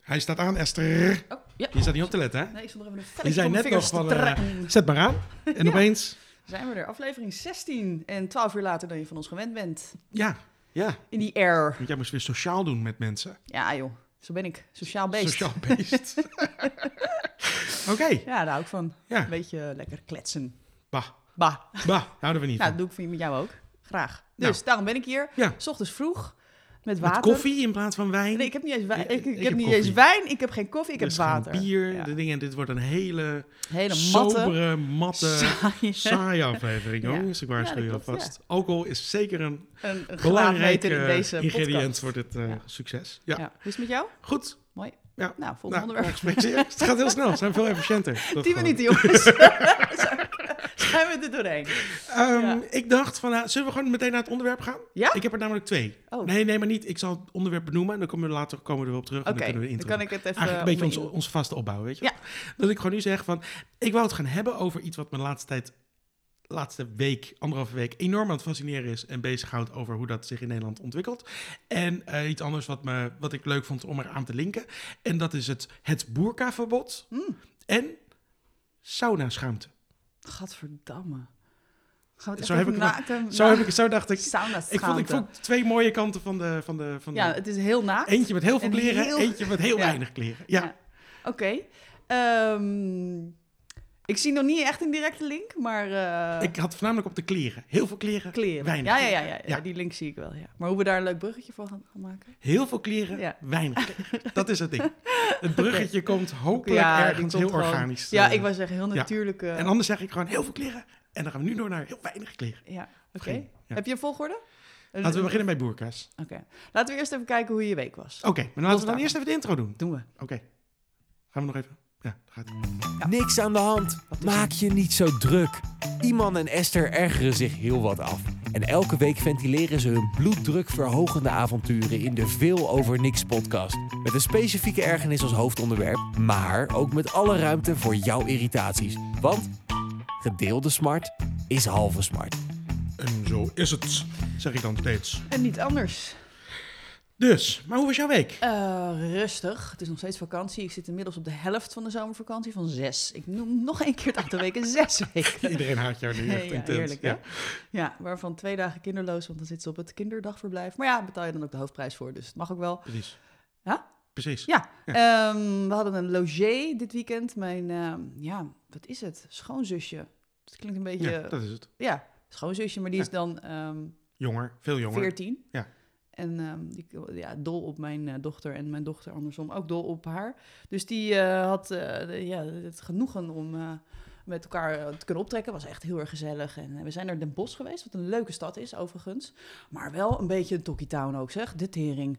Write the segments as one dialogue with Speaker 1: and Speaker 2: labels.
Speaker 1: Hij staat aan, Esther.
Speaker 2: Oh, ja.
Speaker 1: Je staat niet op te letten, hè?
Speaker 2: Nee, ik stond er even een
Speaker 1: Je
Speaker 2: velletje
Speaker 1: zei
Speaker 2: van mijn
Speaker 1: net nog
Speaker 2: vingers
Speaker 1: van,
Speaker 2: te
Speaker 1: eh,
Speaker 2: trekken.
Speaker 1: zet maar aan. En
Speaker 2: Ja.
Speaker 1: opeens,
Speaker 2: Zijn we er. Aflevering 16 en 12 uur later dan je van ons gewend bent.
Speaker 1: ja, ja.
Speaker 2: In die air.
Speaker 1: Want jij moest weer sociaal doen met mensen.
Speaker 2: Ja joh, zo ben ik. Sociaal beest.
Speaker 1: Sociaal beest. Oké,
Speaker 2: Ja, daar hou ik van.
Speaker 1: Ja.
Speaker 2: Een beetje eh, lekker kletsen.
Speaker 1: bah,
Speaker 2: Bah.
Speaker 1: bah, houden we niet
Speaker 2: Nou,
Speaker 1: van.
Speaker 2: dat doe ik voor- met jou ook. Graag. Dus
Speaker 1: Nou.
Speaker 2: daarom ben ik hier.
Speaker 1: Ja.
Speaker 2: S ochtends vroeg. Met
Speaker 1: Met
Speaker 2: water.
Speaker 1: koffie in plaats van wijn.
Speaker 2: Nee, ik heb niet eens wijn. Ik,
Speaker 1: Ik-
Speaker 2: ik,
Speaker 1: ik
Speaker 2: heb,
Speaker 1: heb
Speaker 2: niet
Speaker 1: koffie.
Speaker 2: eens wijn. Ik heb geen koffie. Ik
Speaker 1: Dus
Speaker 2: heb
Speaker 1: geen
Speaker 2: water.
Speaker 1: bier,
Speaker 2: Ja.
Speaker 1: de dingen. Dit wordt een hele,
Speaker 2: Hele matte.
Speaker 1: sobere, matte,
Speaker 2: saaie-
Speaker 1: saaie aflevering,
Speaker 2: Ja.
Speaker 1: jongens. Ik waarschuw
Speaker 2: Ja,
Speaker 1: je
Speaker 2: dat klopt,
Speaker 1: alvast. Alcohol is zeker een
Speaker 2: Een, een
Speaker 1: belangrijk
Speaker 2: graadmeter in
Speaker 1: eh,
Speaker 2: deze
Speaker 1: ingrediënt
Speaker 2: podcast.
Speaker 1: voor dit eh,
Speaker 2: Ja.
Speaker 1: succes. Ja,
Speaker 2: Ja. Hoe is het met jou?
Speaker 1: goed.
Speaker 2: Nou, volgende
Speaker 1: Nou,
Speaker 2: onderwerp.
Speaker 1: maar gefeliciteerd. het gaat heel snel. Ze zijn veel efficiënter. Dat
Speaker 2: Die
Speaker 1: gewoon.
Speaker 2: minuten, jongens. Zijn we er doorheen?
Speaker 1: Ehm,
Speaker 2: Ja.
Speaker 1: Ik dacht van, nou, zullen we gewoon meteen naar het onderwerp gaan?
Speaker 2: Ja?
Speaker 1: Ik heb er namelijk twee.
Speaker 2: Oh.
Speaker 1: Nee, nee, maar niet. Ik zal het onderwerp benoemen en dan komen we later komen we er weer op terug.
Speaker 2: Oké,
Speaker 1: en dan kunnen we de intro.
Speaker 2: dan kan ik het even...
Speaker 1: Eigenlijk een beetje
Speaker 2: opnieuw-
Speaker 1: onze, onze vaste opbouw, weet je?
Speaker 2: Ja.
Speaker 1: Dat ik gewoon nu zeg van, ik wou het gaan hebben over iets wat me de laatste tijd, laatste week, anderhalve week, enorm aan het fascineren is en bezighoudt over hoe dat zich in Nederland ontwikkelt. En eh, iets anders wat, me, wat ik leuk vond om eraan te linken. En dat is het, het boerkaverbod
Speaker 2: Hmm.
Speaker 1: en sauna-schaamte.
Speaker 2: Gadverdamme. Gaan we het
Speaker 1: Zo
Speaker 2: even
Speaker 1: heb ik
Speaker 2: na-
Speaker 1: het
Speaker 2: te-
Speaker 1: Zo,
Speaker 2: na-
Speaker 1: heb ik, zo dacht ik,
Speaker 2: Sauna
Speaker 1: Ik vond, ik
Speaker 2: schaamte.
Speaker 1: vond twee mooie kanten van de... Van de, van de
Speaker 2: Ja, het is heel naakt.
Speaker 1: eentje met heel veel
Speaker 2: en
Speaker 1: kleren,
Speaker 2: heel-
Speaker 1: eentje met heel
Speaker 2: Ja.
Speaker 1: weinig kleren. Ja,
Speaker 2: Ja. Oké. Ehm, ik zie nog niet echt een directe link, maar... eh,
Speaker 1: ik had voornamelijk op de kleren. Heel veel kleren,
Speaker 2: Kleren.
Speaker 1: weinig
Speaker 2: Ja, ja, ja, ja,
Speaker 1: kleren.
Speaker 2: ja, Die link zie ik wel, ja. Maar hoe we daar een leuk bruggetje voor gaan, gaan maken.
Speaker 1: Heel veel kleren,
Speaker 2: Ja.
Speaker 1: weinig kleren. Dat is het ding. Het bruggetje komt hopelijk
Speaker 2: ja, die
Speaker 1: ergens
Speaker 2: komt
Speaker 1: heel
Speaker 2: gewoon-
Speaker 1: organisch.
Speaker 2: Ja,
Speaker 1: eh,
Speaker 2: ik wou zeggen, heel natuurlijke...
Speaker 1: En anders zeg ik gewoon heel veel kleren. En dan gaan we nu door naar heel weinig kleren.
Speaker 2: Ja, oké.
Speaker 1: Geen- ja.
Speaker 2: Heb je een volgorde?
Speaker 1: Laten we beginnen bij boerka's.
Speaker 2: Oké. Laten we eerst even kijken hoe je week was.
Speaker 1: Oké, maar laten we dan
Speaker 2: daarvan.
Speaker 1: eerst even de intro doen.
Speaker 2: Doen we.
Speaker 1: Oké. Gaan we nog even... Ja, daar gaat het.
Speaker 3: Niks aan de hand. Maak je niet zo druk. Iman en Esther ergeren zich heel wat af. En elke week ventileren ze hun bloeddrukverhogende avonturen in de Veel Over Niks podcast. Met een specifieke ergernis als hoofdonderwerp, maar ook met alle ruimte voor jouw irritaties. Want gedeelde smart is halve smart.
Speaker 1: En zo is het, zeg ik dan steeds.
Speaker 2: En niet anders.
Speaker 1: Dus, maar hoe was jouw week?
Speaker 2: Eh, rustig. Het is nog steeds vakantie. Ik zit inmiddels op de helft van de zomervakantie van zes. Ik noem nog één keer de acht weken zes weken.
Speaker 1: Iedereen haat jou nu
Speaker 2: Ja,
Speaker 1: echt intens.
Speaker 2: heerlijk, hè?
Speaker 1: ja.
Speaker 2: Ja, waarvan twee dagen kinderloos, want dan zit ze op het kinderdagverblijf. Maar ja, betaal je dan ook de hoofdprijs voor, dus het mag ook wel.
Speaker 1: Precies.
Speaker 2: Ja?
Speaker 1: Precies.
Speaker 2: Ja, ehm, we hadden een logé dit weekend. Mijn, ehm, ja, wat is het? Schoonzusje. Het klinkt een beetje,
Speaker 1: Ja,
Speaker 2: ja,
Speaker 1: dat is het.
Speaker 2: schoonzusje, maar die
Speaker 1: Ja.
Speaker 2: is dan ehm
Speaker 1: Jonger, veel jonger.
Speaker 2: 14.
Speaker 1: Ja.
Speaker 2: En ehm, die, ja, dol op mijn eh, dochter en mijn dochter andersom ook dol op haar. Dus die eh, had eh, de- ja, het genoegen om eh, met elkaar eh, te kunnen optrekken. Was echt heel erg gezellig. En eh, we zijn naar Den Bosch geweest, wat een leuke stad is overigens. Maar wel een beetje een Tokkie Town ook zeg, de tering.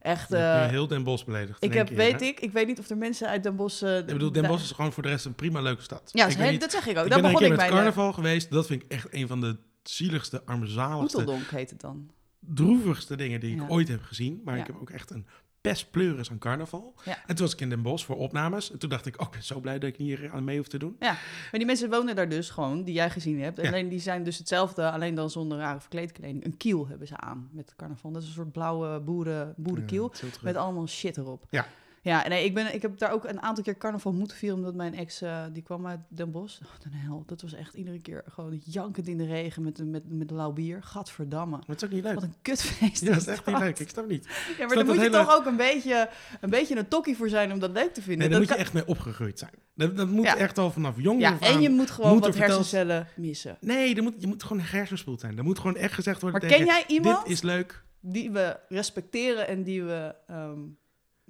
Speaker 2: Echt,
Speaker 1: Je hebt nu
Speaker 2: eh,
Speaker 1: heel Den Bosch beledigd.
Speaker 2: ik
Speaker 1: in één
Speaker 2: heb,
Speaker 1: keer,
Speaker 2: weet
Speaker 1: hè?
Speaker 2: ik, ik weet niet of er mensen uit Den Bosch... eh,
Speaker 1: Ik bedoel, Den
Speaker 2: daar-
Speaker 1: Bosch is gewoon voor de rest een prima leuke stad.
Speaker 2: Ja,
Speaker 1: ik
Speaker 2: is
Speaker 1: weet
Speaker 2: heel-
Speaker 1: niet-
Speaker 2: dat zeg ik ook.
Speaker 1: ik
Speaker 2: Daar
Speaker 1: ben een
Speaker 2: begon
Speaker 1: keer
Speaker 2: ik eh,
Speaker 1: met
Speaker 2: bij.
Speaker 1: carnaval geweest. Dat vind ik echt een van de zieligste, armzaligste,
Speaker 2: Hoeteldonk heet het dan.
Speaker 1: droevigste dingen die ik
Speaker 2: Ja.
Speaker 1: ooit heb gezien. Maar
Speaker 2: Ja.
Speaker 1: ik heb ook echt een pest pleuris aan carnaval.
Speaker 2: Ja.
Speaker 1: En toen was ik in Den Bosch voor opnames. En toen dacht ik, oh, ik ben zo blij dat ik hier aan mee hoef te doen.
Speaker 2: Maar die mensen wonen daar dus gewoon, die jij gezien hebt.
Speaker 1: Ja.
Speaker 2: Alleen die zijn dus hetzelfde, alleen dan zonder rare verkleedkleding. Een kiel hebben ze aan met carnaval. Dat is een soort blauwe boeren, boerenkiel
Speaker 1: Ja, het is heel terug.
Speaker 2: met allemaal shit erop.
Speaker 1: Ja.
Speaker 2: Ja, nee, ik, ben, ik heb daar ook een aantal keer carnaval moeten vieren... omdat mijn ex, eh, die kwam uit Den Bosch. Oh, de hel, dat was echt iedere keer gewoon jankend in de regen met, met, met lauw bier. Gadverdamme.
Speaker 1: Maar het is ook niet leuk.
Speaker 2: Wat een kutfeest
Speaker 1: Ja, dat
Speaker 2: is
Speaker 1: is echt niet
Speaker 2: dat.
Speaker 1: leuk. Ik snap niet.
Speaker 2: Ja, maar
Speaker 1: dat
Speaker 2: daar moet je
Speaker 1: hele-
Speaker 2: toch ook een beetje, een beetje een tokkie voor zijn om dat leuk te vinden.
Speaker 1: Nee, daar
Speaker 2: Dat
Speaker 1: moet je
Speaker 2: kan-
Speaker 1: echt mee opgegroeid zijn. Dat, dat moet
Speaker 2: Ja.
Speaker 1: echt al vanaf jong
Speaker 2: ja,
Speaker 1: af
Speaker 2: en
Speaker 1: aan-
Speaker 2: je moet gewoon
Speaker 1: moet er
Speaker 2: wat
Speaker 1: verteld-
Speaker 2: hersencellen missen.
Speaker 1: Nee, er moet, je moet gewoon hersenspoeld zijn. Er moet gewoon echt gezegd worden
Speaker 2: Maar ken
Speaker 1: tegen,
Speaker 2: jij iemand
Speaker 1: dit is leuk.
Speaker 2: die we respecteren en die we, ehm,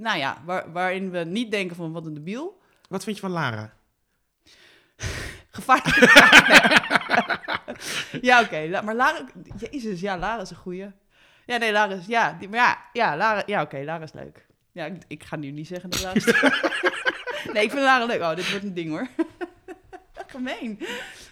Speaker 2: nou ja, waar, waarin we niet denken van wat een debiel.
Speaker 1: Wat vind je van Lara?
Speaker 2: Gevaarlijk. Nee. ja, oké. La- Maar Lara, jezus, ja, Lara is een goeie. Ja, nee, Lara is, ja, die, maar ja, ja, Lara, ja, oké, Lara is leuk. Ja, ik, ik ga nu niet zeggen dat Lara is Nee, ik vind Lara leuk. Oh, dit wordt een ding hoor. Gemeen.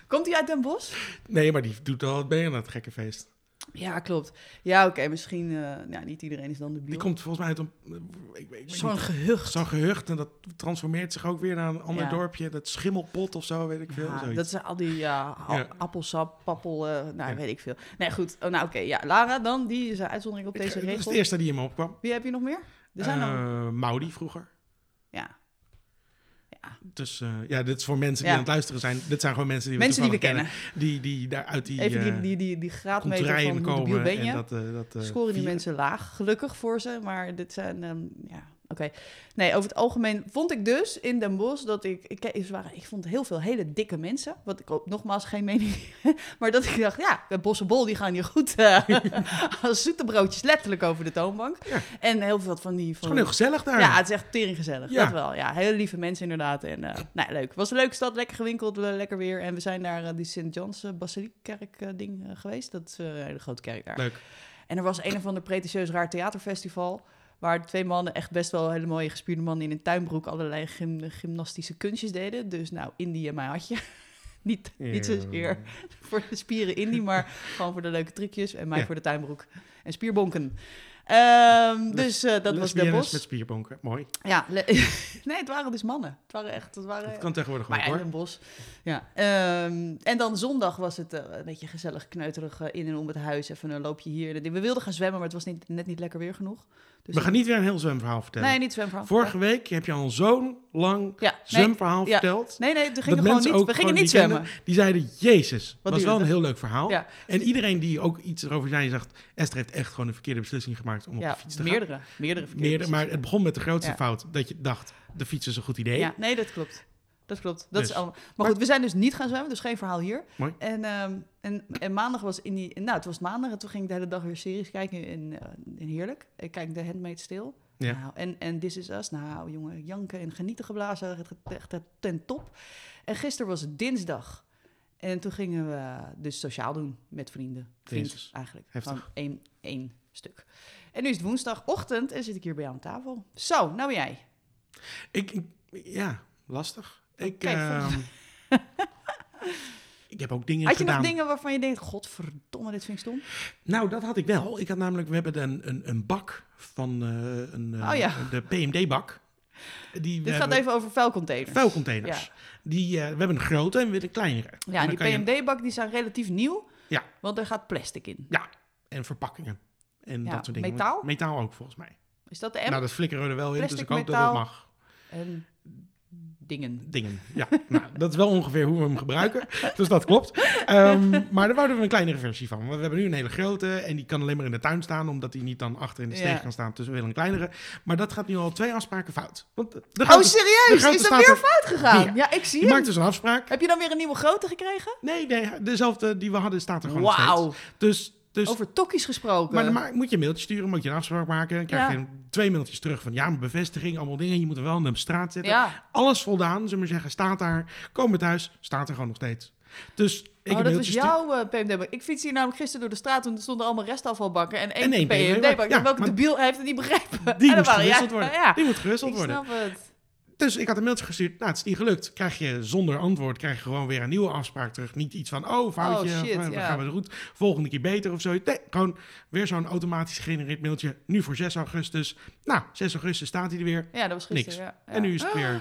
Speaker 2: Komt hij uit Den Bosch?
Speaker 1: Nee, maar die doet al het mee aan dat gekke feest.
Speaker 2: Ja, klopt. Ja, oké, misschien, eh, nou, niet iedereen is dan de
Speaker 1: Die komt volgens mij uit een... Ik, weet- ik weet
Speaker 2: Zo'n
Speaker 1: niet.
Speaker 2: gehucht.
Speaker 1: Zo'n gehucht en dat transformeert zich ook weer naar een ander
Speaker 2: Ja.
Speaker 1: dorpje. Dat schimmelpot of zo, weet ik veel.
Speaker 2: Ja,
Speaker 1: zoiets.
Speaker 2: Ah, dat zijn al die ja, a-
Speaker 1: Ja.
Speaker 2: appelsap, pappel, eh, nou
Speaker 1: Ja.
Speaker 2: weet ik veel. Nee, goed. Oh, nou, oké. Ja, Lara dan, die is een uitzondering op
Speaker 1: Ik-
Speaker 2: deze
Speaker 1: dat is
Speaker 2: regel.
Speaker 1: de eerste die in me opkwam.
Speaker 2: Wie heb je nog meer? Er zijn nog...
Speaker 1: Eh, Maudie vroeger. Dus eh, ja, dit is voor mensen die
Speaker 2: Ja.
Speaker 1: aan het luisteren zijn. Dit zijn gewoon mensen die
Speaker 2: Mensen
Speaker 1: we
Speaker 2: die we
Speaker 1: toevallig
Speaker 2: kennen.
Speaker 1: Die, die daar uit die,
Speaker 2: Even die,
Speaker 1: eh,
Speaker 2: die, die, die graadmeter
Speaker 1: contraien
Speaker 2: van hoe debiel
Speaker 1: komen.
Speaker 2: ben
Speaker 1: En
Speaker 2: je.
Speaker 1: dat, eh, dat, eh,
Speaker 2: Scoren die
Speaker 1: vieren.
Speaker 2: mensen laag, gelukkig voor ze. Maar dit zijn, ehm, ja, oké. Nee, over het algemeen vond ik dus in Den Bosch dat ik... Ik, ke- ze waren, ik vond heel veel hele dikke mensen. Wat ik ook nogmaals geen mening... maar dat ik dacht, ja, de bossenbol die gaan hier goed... eh, als zoete broodjes letterlijk over de toonbank.
Speaker 1: Ja.
Speaker 2: En heel veel van die...
Speaker 1: Het
Speaker 2: Van,
Speaker 1: is gewoon heel gezellig daar.
Speaker 2: ja, het is echt teringgezellig.
Speaker 1: Ja.
Speaker 2: Dat wel. Ja, hele lieve mensen inderdaad. En eh nou, ja, leuk. Was een leuke stad, lekker gewinkeld, le- lekker weer. En we zijn naar eh, die Sint John's eh, Basiliekkerk eh, ding eh, geweest. Dat is eh, een hele grote kerk daar.
Speaker 1: Leuk.
Speaker 2: En er was een of ander pretentieus raar theaterfestival. Waar twee mannen, echt best wel hele mooie gespierde mannen in een tuinbroek, allerlei gym- gymnastische kunstjes deden. Dus nou, indie en mij had je. niet, niet zozeer voor de spieren indie, maar gewoon voor de leuke trucjes. En mij
Speaker 1: Ja.
Speaker 2: voor de tuinbroek en spierbonken. Ehm,
Speaker 1: Les-
Speaker 2: dus eh, dat was de
Speaker 1: Lesbiennes
Speaker 2: bos. Oh,
Speaker 1: met spierbonken. Mooi.
Speaker 2: Ja, le- nee, het waren dus mannen. Het waren echt, het waren...
Speaker 1: Dat kan tegenwoordig ook
Speaker 2: maar ja,
Speaker 1: hoor.
Speaker 2: in een bos. Ja. ehm, en dan zondag was het eh, een beetje gezellig, kneuterig eh, in en om het huis. Even een loopje hier. We wilden gaan zwemmen, maar het was niet, net niet lekker weer genoeg. Dus
Speaker 1: We gaan niet weer een heel zwemverhaal vertellen.
Speaker 2: Nee, niet zwemmen.
Speaker 1: Vorige week heb je al zo'n lang
Speaker 2: ja, nee,
Speaker 1: zwemverhaal
Speaker 2: ja.
Speaker 1: verteld.
Speaker 2: nee, nee, we
Speaker 1: dat
Speaker 2: gingen gewoon
Speaker 1: mensen
Speaker 2: niet,
Speaker 1: ook
Speaker 2: we gingen
Speaker 1: gewoon
Speaker 2: niet
Speaker 1: die
Speaker 2: zwemmen.
Speaker 1: Die zeiden, jezus, was
Speaker 2: duurde
Speaker 1: wel een
Speaker 2: het?
Speaker 1: heel leuk verhaal.
Speaker 2: Ja.
Speaker 1: En iedereen die ook iets erover zei, zegt... Esther heeft echt gewoon een verkeerde beslissing gemaakt om op
Speaker 2: Ja,
Speaker 1: de fiets te gaan.
Speaker 2: meerdere, meerdere verkeerde
Speaker 1: Meerdere, maar het begon met de grootste
Speaker 2: Ja.
Speaker 1: fout. Dat je dacht, de fiets is een goed idee.
Speaker 2: Ja, nee, dat klopt. Dat klopt. Dat
Speaker 1: Dus.
Speaker 2: is allemaal. Maar, goed, we zijn dus niet gaan zwemmen, dus geen verhaal hier.
Speaker 1: Mooi.
Speaker 2: En, ehm, en, en maandag was in die. Nou, het was maandag en toen ging ik de hele dag weer series kijken in, eh, in Heerlijk. Ik kijk de Handmaid's Stil.
Speaker 1: Ja.
Speaker 2: Nou, en, en This Is Us. Nou, jongen, janken en genieten geblazen. Het- het- Echt ten top. En gisteren was het dinsdag. En toen gingen we dus sociaal doen met vrienden. Vriend
Speaker 1: Jezus.
Speaker 2: eigenlijk.
Speaker 1: Heftig.
Speaker 2: Van één, één stuk. En nu is het woensdagochtend en zit ik hier bij jou aan tafel. Zo, nou ben jij.
Speaker 1: Ik, ik- ja, lastig. Ik,
Speaker 2: Oké,
Speaker 1: ehm, ik heb ook dingen
Speaker 2: Had je
Speaker 1: gedaan.
Speaker 2: nog dingen waarvan je denkt, godverdomme, dit vind ik stom?
Speaker 1: Nou, dat had ik wel. Ik had namelijk, we hebben een, een, een bak van eh, een, eh,
Speaker 2: Oh ja.
Speaker 1: de PMD-bak. Die
Speaker 2: Dit gaat even over vuilcontainers.
Speaker 1: Vuilcontainers. Die, eh, we hebben een grote en weer een kleinere. En
Speaker 2: Ja,
Speaker 1: dan
Speaker 2: en die
Speaker 1: kan je-
Speaker 2: PMD-bak die zijn relatief nieuw.
Speaker 1: Ja.
Speaker 2: Want er gaat plastic in.
Speaker 1: Ja, en verpakkingen. En
Speaker 2: Ja,
Speaker 1: dat soort dingen.
Speaker 2: metaal?
Speaker 1: Metaal ook, volgens mij.
Speaker 2: Is dat de M?
Speaker 1: Nou, dat flikkeren we er wel in, dus ik
Speaker 2: Plastic,
Speaker 1: hoop dat
Speaker 2: metaal.
Speaker 1: dat mag.
Speaker 2: En dingen.
Speaker 1: Dingen, ja. nou, dat is wel ongeveer hoe we hem gebruiken, dus dat klopt. Ehm, maar daar wouden we een kleinere versie van. Want we hebben nu een hele grote en die kan alleen maar in de tuin staan... omdat die niet dan achter in de steeg
Speaker 2: Ja.
Speaker 1: kan staan. Dus we willen een kleinere. Maar dat gaat nu al twee afspraken fout. Want eh, de de
Speaker 2: Oh,
Speaker 1: grote de
Speaker 2: serieus?
Speaker 1: grote
Speaker 2: Is dat
Speaker 1: staat er-
Speaker 2: weer fout gegaan?
Speaker 1: Ja.
Speaker 2: Ja, ik zie
Speaker 1: die
Speaker 2: het.
Speaker 1: maakt dus een afspraak.
Speaker 2: Heb je dan weer een nieuwe grote gekregen?
Speaker 1: Nee, nee, dezelfde die we hadden staat er gewoon nog steeds.
Speaker 2: Wauw.
Speaker 1: Dus, dus
Speaker 2: Over tokkies gesproken.
Speaker 1: Maar dan ma- moet je een mailtje sturen, moet je een afspraak maken. Dan krijg je
Speaker 2: Ja.
Speaker 1: een- twee mailtjes terug van ja, mijn bevestiging, allemaal dingen. Je moet er wel naar op straat zetten.
Speaker 2: ja.
Speaker 1: Alles voldaan, zullen we maar zeggen, staat daar. Komen we thuis, staat er gewoon nog steeds. Dus ik
Speaker 2: oh,
Speaker 1: heb
Speaker 2: dat was
Speaker 1: mailtjes stuur-
Speaker 2: jouw eh, PMD-bak. Ik fiets hier namelijk gisteren door de straat en er stonden allemaal restafvalbakken. En één,
Speaker 1: En één PMD-bak,
Speaker 2: PMD-bak.
Speaker 1: ja,
Speaker 2: Welke
Speaker 1: maar-
Speaker 2: debiel heeft het niet begrepen? En
Speaker 1: Die
Speaker 2: dat
Speaker 1: moet
Speaker 2: waren- ja,
Speaker 1: gewisseld worden.
Speaker 2: Ja,
Speaker 1: Die moet gewisseld
Speaker 2: ik
Speaker 1: worden.
Speaker 2: snap het.
Speaker 1: Dus ik had een mailtje gestuurd. Nou, het is niet gelukt. Krijg je zonder antwoord, krijg je gewoon weer een nieuwe afspraak terug. Niet iets van, oh, foutje,
Speaker 2: Oh, shit,
Speaker 1: van, dan
Speaker 2: ja.
Speaker 1: gaan we het goed. Volgende keer beter of zo. Nee, gewoon weer zo'n automatisch gegenereerd mailtje. Nu voor 6 augustus. Nou, 6 augustus staat hij er weer.
Speaker 2: Ja, dat was gisteren. Ja, ja. Ah.
Speaker 1: En nu is het weer...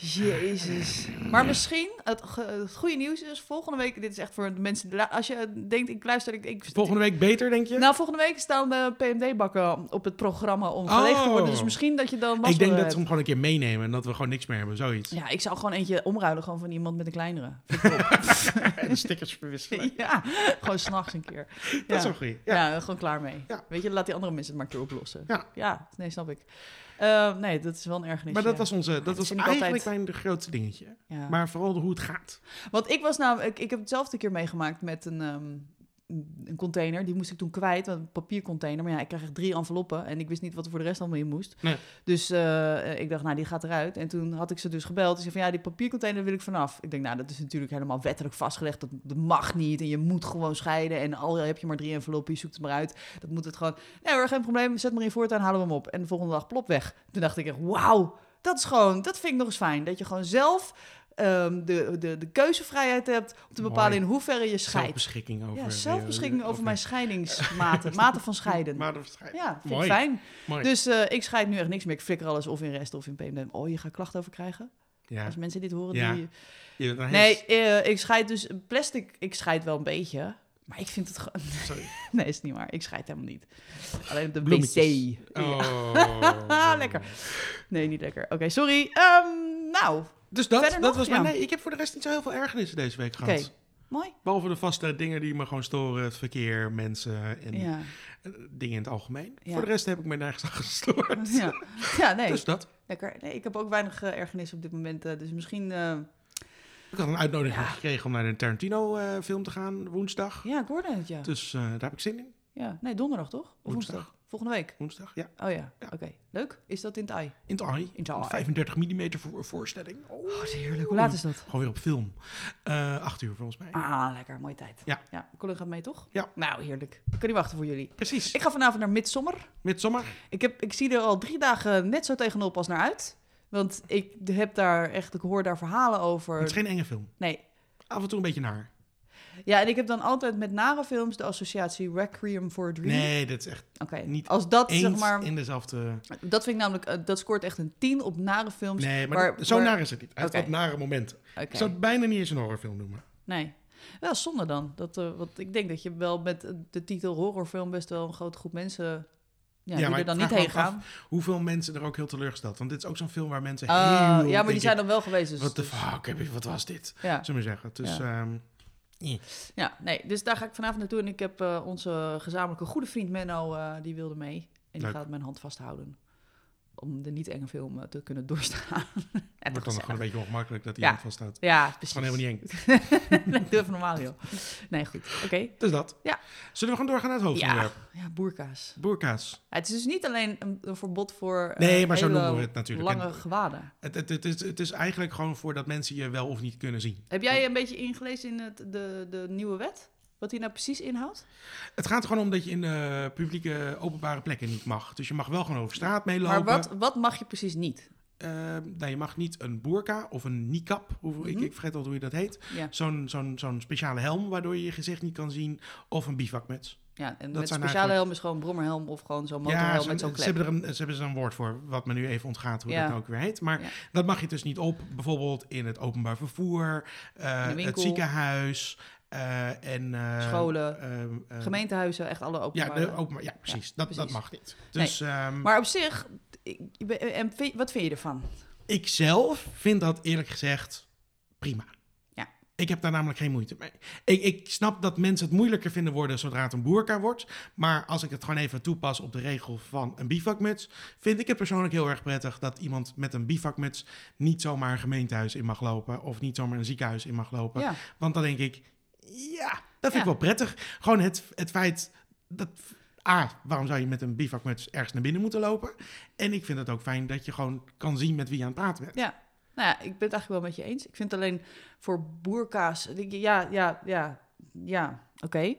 Speaker 2: Jezus. Maar misschien, het, ge- het goede nieuws is, volgende week, dit is echt voor de mensen, die lu- als je denkt, ik luister, ik... ik
Speaker 1: Volgende week beter, denk je?
Speaker 2: Nou, volgende week staan de PMD-bakken op het programma om geleegd te worden.
Speaker 1: Oh.
Speaker 2: Dus misschien dat je dan
Speaker 1: Ik denk
Speaker 2: mazzel
Speaker 1: dat ze
Speaker 2: hebt.
Speaker 1: hem gewoon een keer meenemen en dat we gewoon niks meer hebben, zoiets.
Speaker 2: Ja, ik zou gewoon eentje omruilen gewoon van iemand met een kleinere.
Speaker 1: En de stickers verwisselen.
Speaker 2: ja, gewoon s'nachts een keer. Ja.
Speaker 1: Dat is wel goed. Ja.
Speaker 2: Ja. gewoon klaar mee.
Speaker 1: Ja.
Speaker 2: Weet je, laat die andere mensen het maar een keer oplossen.
Speaker 1: Ja.
Speaker 2: nee, snap ik. Eh, nee, dat is wel een ergernis.
Speaker 1: Maar dat
Speaker 2: ja.
Speaker 1: was, onze, dat
Speaker 2: dat
Speaker 1: was
Speaker 2: vind ik
Speaker 1: eigenlijk
Speaker 2: altijd-
Speaker 1: mijn de grootste dingetje.
Speaker 2: Ja.
Speaker 1: Maar vooral hoe het gaat.
Speaker 2: Want ik was namelijk, ik, ik heb hetzelfde keer meegemaakt met een, ehm, een container. Die moest ik toen kwijt, want een papiercontainer. Maar ja, ik kreeg echt drie enveloppen en ik wist niet wat er voor de rest allemaal in moest.
Speaker 1: Nee.
Speaker 2: Dus eh, ik dacht, nou, die gaat eruit. En toen had ik ze dus gebeld. Ze zei van, ja, die papiercontainer wil ik vanaf. Ik denk, nou, dat is natuurlijk helemaal wettelijk vastgelegd. Dat, dat mag niet en je moet gewoon scheiden. En al heb je maar drie enveloppen, je zoekt het maar uit. Dat moet het gewoon... Nee hoor, geen probleem, zet maar in voortaan, halen we hem op. En de volgende dag plop weg. Toen dacht ik echt, wauw, dat is gewoon, dat vind ik nog eens fijn. Dat je gewoon zelf ehm, de, de, de keuzevrijheid hebt om te bepalen
Speaker 1: Mooi.
Speaker 2: in hoeverre je scheidt.
Speaker 1: Zelfbeschikking over...
Speaker 2: ja, zelfbeschikking
Speaker 1: eh,
Speaker 2: over mijn scheidingsmaten, maten van scheiden.
Speaker 1: Maar dat schijnt.
Speaker 2: ja, vind
Speaker 1: Mooi.
Speaker 2: ik fijn.
Speaker 1: Mooi.
Speaker 2: Dus eh, ik scheid nu echt niks meer. Ik flikker alles of in rest of in PMD. Oh, je gaat klachten over krijgen?
Speaker 1: ja.
Speaker 2: Als mensen dit horen,
Speaker 1: Ja.
Speaker 2: die...
Speaker 1: Je bent een
Speaker 2: Nee,
Speaker 1: heel-
Speaker 2: eh, ik scheid dus plastic. Ik scheid wel een beetje, maar ik vind het gewoon...
Speaker 1: Sorry.
Speaker 2: Nee, is niet waar. Ik scheid helemaal niet. Alleen op de
Speaker 1: Bloemetjes.
Speaker 2: wc. Ja. Ah,
Speaker 1: Oh.
Speaker 2: Lekker. Nee, niet lekker. Oké, sorry. Ehm, nou,
Speaker 1: Dus dat,
Speaker 2: Verder
Speaker 1: dat
Speaker 2: nog?
Speaker 1: was mijn...
Speaker 2: Ja.
Speaker 1: Nee, ik heb voor de rest niet zo heel veel ergernissen deze week
Speaker 2: Oké.
Speaker 1: gehad.
Speaker 2: Mooi.
Speaker 1: Behalve de vaste dingen die me gewoon storen. Het verkeer, mensen en
Speaker 2: Ja.
Speaker 1: eh, dingen in het algemeen.
Speaker 2: Ja.
Speaker 1: Voor de rest heb ik me nergens aan gestoord.
Speaker 2: Ja. ja, nee.
Speaker 1: Dus dat.
Speaker 2: Lekker. Nee, ik heb ook weinig eh, ergernis op dit moment. eh, dus misschien... eh,
Speaker 1: Ik had een uitnodiging gekregen om naar een Tarantino-film te gaan woensdag.
Speaker 2: ja, ik hoorde het, ja.
Speaker 1: Dus eh, daar heb ik zin in.
Speaker 2: ja. Nee, donderdag toch? Of
Speaker 1: Woensdag.
Speaker 2: woensdag? Volgende week?
Speaker 1: Woensdag, ja.
Speaker 2: Oh ja,
Speaker 1: Ja.
Speaker 2: oké. Leuk. Is dat in het ei?
Speaker 1: In het AI.
Speaker 2: In het
Speaker 1: Een
Speaker 2: ei.
Speaker 1: 35 mm voor, voorstelling. Oh,
Speaker 2: heerlijk. Hoe laat is dat?
Speaker 1: Gewoon weer op film. Eh acht uur volgens mij.
Speaker 2: Ah, lekker. Mooie tijd.
Speaker 1: Ja.
Speaker 2: Ja, mijn collega gaat mee toch?
Speaker 1: Ja.
Speaker 2: Nou, heerlijk. Ik kan niet wachten voor jullie.
Speaker 1: Precies.
Speaker 2: Ik ga vanavond naar Midsommar.
Speaker 1: Midsommar.
Speaker 2: Ik, heb, ik zie er al drie dagen net zo tegenop als naar uit. Want ik heb daar echt, ik hoor daar verhalen
Speaker 1: Het is
Speaker 2: over.
Speaker 1: geen enge film.
Speaker 2: Nee.
Speaker 1: Af en toe een beetje naar.
Speaker 2: Ja, en ik heb dan altijd met nare films de associatie Requiem for a Dream.
Speaker 1: Nee, dat is echt
Speaker 2: Oké.
Speaker 1: niet
Speaker 2: Als dat,
Speaker 1: eens
Speaker 2: zeg maar,
Speaker 1: in dezelfde...
Speaker 2: dat vind ik namelijk, eh, dat scoort echt een 10 op nare films.
Speaker 1: Nee, maar
Speaker 2: waar-
Speaker 1: dat- zo
Speaker 2: waar-
Speaker 1: naar is het niet. Hij heeft
Speaker 2: Oké.
Speaker 1: wat nare momenten.
Speaker 2: Oké.
Speaker 1: Ik zou het bijna niet eens een horrorfilm noemen.
Speaker 2: Nee. Wel zonde dan. Dat, eh, want ik denk dat je wel met eh, de titel horrorfilm best wel een grote groep mensen ja, die
Speaker 1: maar
Speaker 2: er
Speaker 1: ik
Speaker 2: dan
Speaker 1: vraag
Speaker 2: niet
Speaker 1: me
Speaker 2: heen
Speaker 1: ook af,
Speaker 2: gaan.
Speaker 1: Hoeveel mensen er ook heel teleurgesteld. Want dit is ook zo'n film waar mensen
Speaker 2: Eh,
Speaker 1: heel...
Speaker 2: ja, maar die
Speaker 1: denken,
Speaker 2: zijn dan wel geweest. Dus,
Speaker 1: Wat de
Speaker 2: dus-
Speaker 1: fuck, heb ik- wat was dit?
Speaker 2: Ja.
Speaker 1: Zullen we zeggen. Dus ehm,
Speaker 2: ja, nee. Dus daar ga ik vanavond naartoe. En ik heb eh, onze gezamenlijke goede vriend Menno, eh, die wilde mee. En die
Speaker 1: Leuk.
Speaker 2: gaat mijn hand vasthouden. Om de niet-enge film eh, te kunnen doorstaan.
Speaker 1: het
Speaker 2: En
Speaker 1: wordt dan gewoon een beetje ongemakkelijk dat hij
Speaker 2: Ja.
Speaker 1: iemand vasthoudt.
Speaker 2: Ja,
Speaker 1: Het is
Speaker 2: precies.
Speaker 1: gewoon helemaal niet eng.
Speaker 2: nee, doe even normaal, joh. Nee, goed. Oké.
Speaker 1: Dus dat.
Speaker 2: Ja.
Speaker 1: Zullen we gewoon doorgaan naar het
Speaker 2: Ja,
Speaker 1: hoofdonderwerp?
Speaker 2: ja, boerka's.
Speaker 1: Boerkaas.
Speaker 2: Ja, het is dus niet alleen een, een verbod voor eh,
Speaker 1: Nee, maar zo
Speaker 2: hele
Speaker 1: noemen we het natuurlijk.
Speaker 2: lange
Speaker 1: En-
Speaker 2: gewaden.
Speaker 1: Het, het, het, is, het is eigenlijk gewoon voor dat mensen je wel of niet kunnen zien.
Speaker 2: Heb jij een beetje ingelezen in het, de, de nieuwe wet? Wat die nou precies inhoudt?
Speaker 1: Het gaat er gewoon om dat je in eh, publieke openbare plekken niet mag. Dus je mag wel gewoon over straat meelopen.
Speaker 2: Maar wat, wat mag je precies niet?
Speaker 1: Eh, nee, je mag niet een boerka of een niqab, hoe, ik,
Speaker 2: Mhm.
Speaker 1: ik vergeet al hoe je dat heet.
Speaker 2: Ja,
Speaker 1: Zo'n zo'n zo'n speciale helm waardoor je je gezicht niet kan zien. Of een bivakmuts.
Speaker 2: ja en
Speaker 1: Dat
Speaker 2: met
Speaker 1: zijn
Speaker 2: speciale
Speaker 1: eigenlijk-
Speaker 2: helm is gewoon een brommerhelm of gewoon zo'n motorhelm
Speaker 1: Ja,
Speaker 2: met
Speaker 1: zo'n-
Speaker 2: zo'n
Speaker 1: ze
Speaker 2: klep.
Speaker 1: hebben, er een, ze hebben er een woord voor, wat me nu even ontgaat hoe
Speaker 2: Ja.
Speaker 1: dat nou ook weer heet. Maar
Speaker 2: Ja.
Speaker 1: dat mag je dus niet op, bijvoorbeeld in het openbaar vervoer, eh,
Speaker 2: In de
Speaker 1: het
Speaker 2: winkel.
Speaker 1: ziekenhuis eh, en... eh,
Speaker 2: Scholen.
Speaker 1: ehm, ehm,
Speaker 2: Gemeentehuizen, echt alle
Speaker 1: Ja,
Speaker 2: openbare.
Speaker 1: de openbaar, ja, precies. dat, dat
Speaker 2: precies.
Speaker 1: mag niet. Dus ehm,
Speaker 2: Maar op zich, ik, ik ben- en vind- wat vind je ervan?
Speaker 1: ik zelf vind dat eerlijk gezegd prima.
Speaker 2: Ja.
Speaker 1: Ik heb daar namelijk geen moeite mee. Ik, ik snap dat mensen het moeilijker vinden worden zodra het een boerka wordt. Maar als ik het gewoon even toepas op de regel van een bivakmuts... vind ik het persoonlijk heel erg prettig dat iemand met een bivakmuts... niet zomaar een gemeentehuis in mag lopen... of niet zomaar een ziekenhuis in mag lopen.
Speaker 2: Ja,
Speaker 1: Want dan denk ik, ja, dat vind ik
Speaker 2: Ja.
Speaker 1: wel prettig. Gewoon het, het feit dat... A, waarom zou je met een bivakmuts ergens naar binnen moeten lopen? En ik vind het ook fijn dat je gewoon kan zien met wie je aan het praten bent.
Speaker 2: ja. Nou ja, ik ben het eigenlijk wel met je eens. Ik vind alleen voor boerka's... Ja, ja, ja, ja, oké.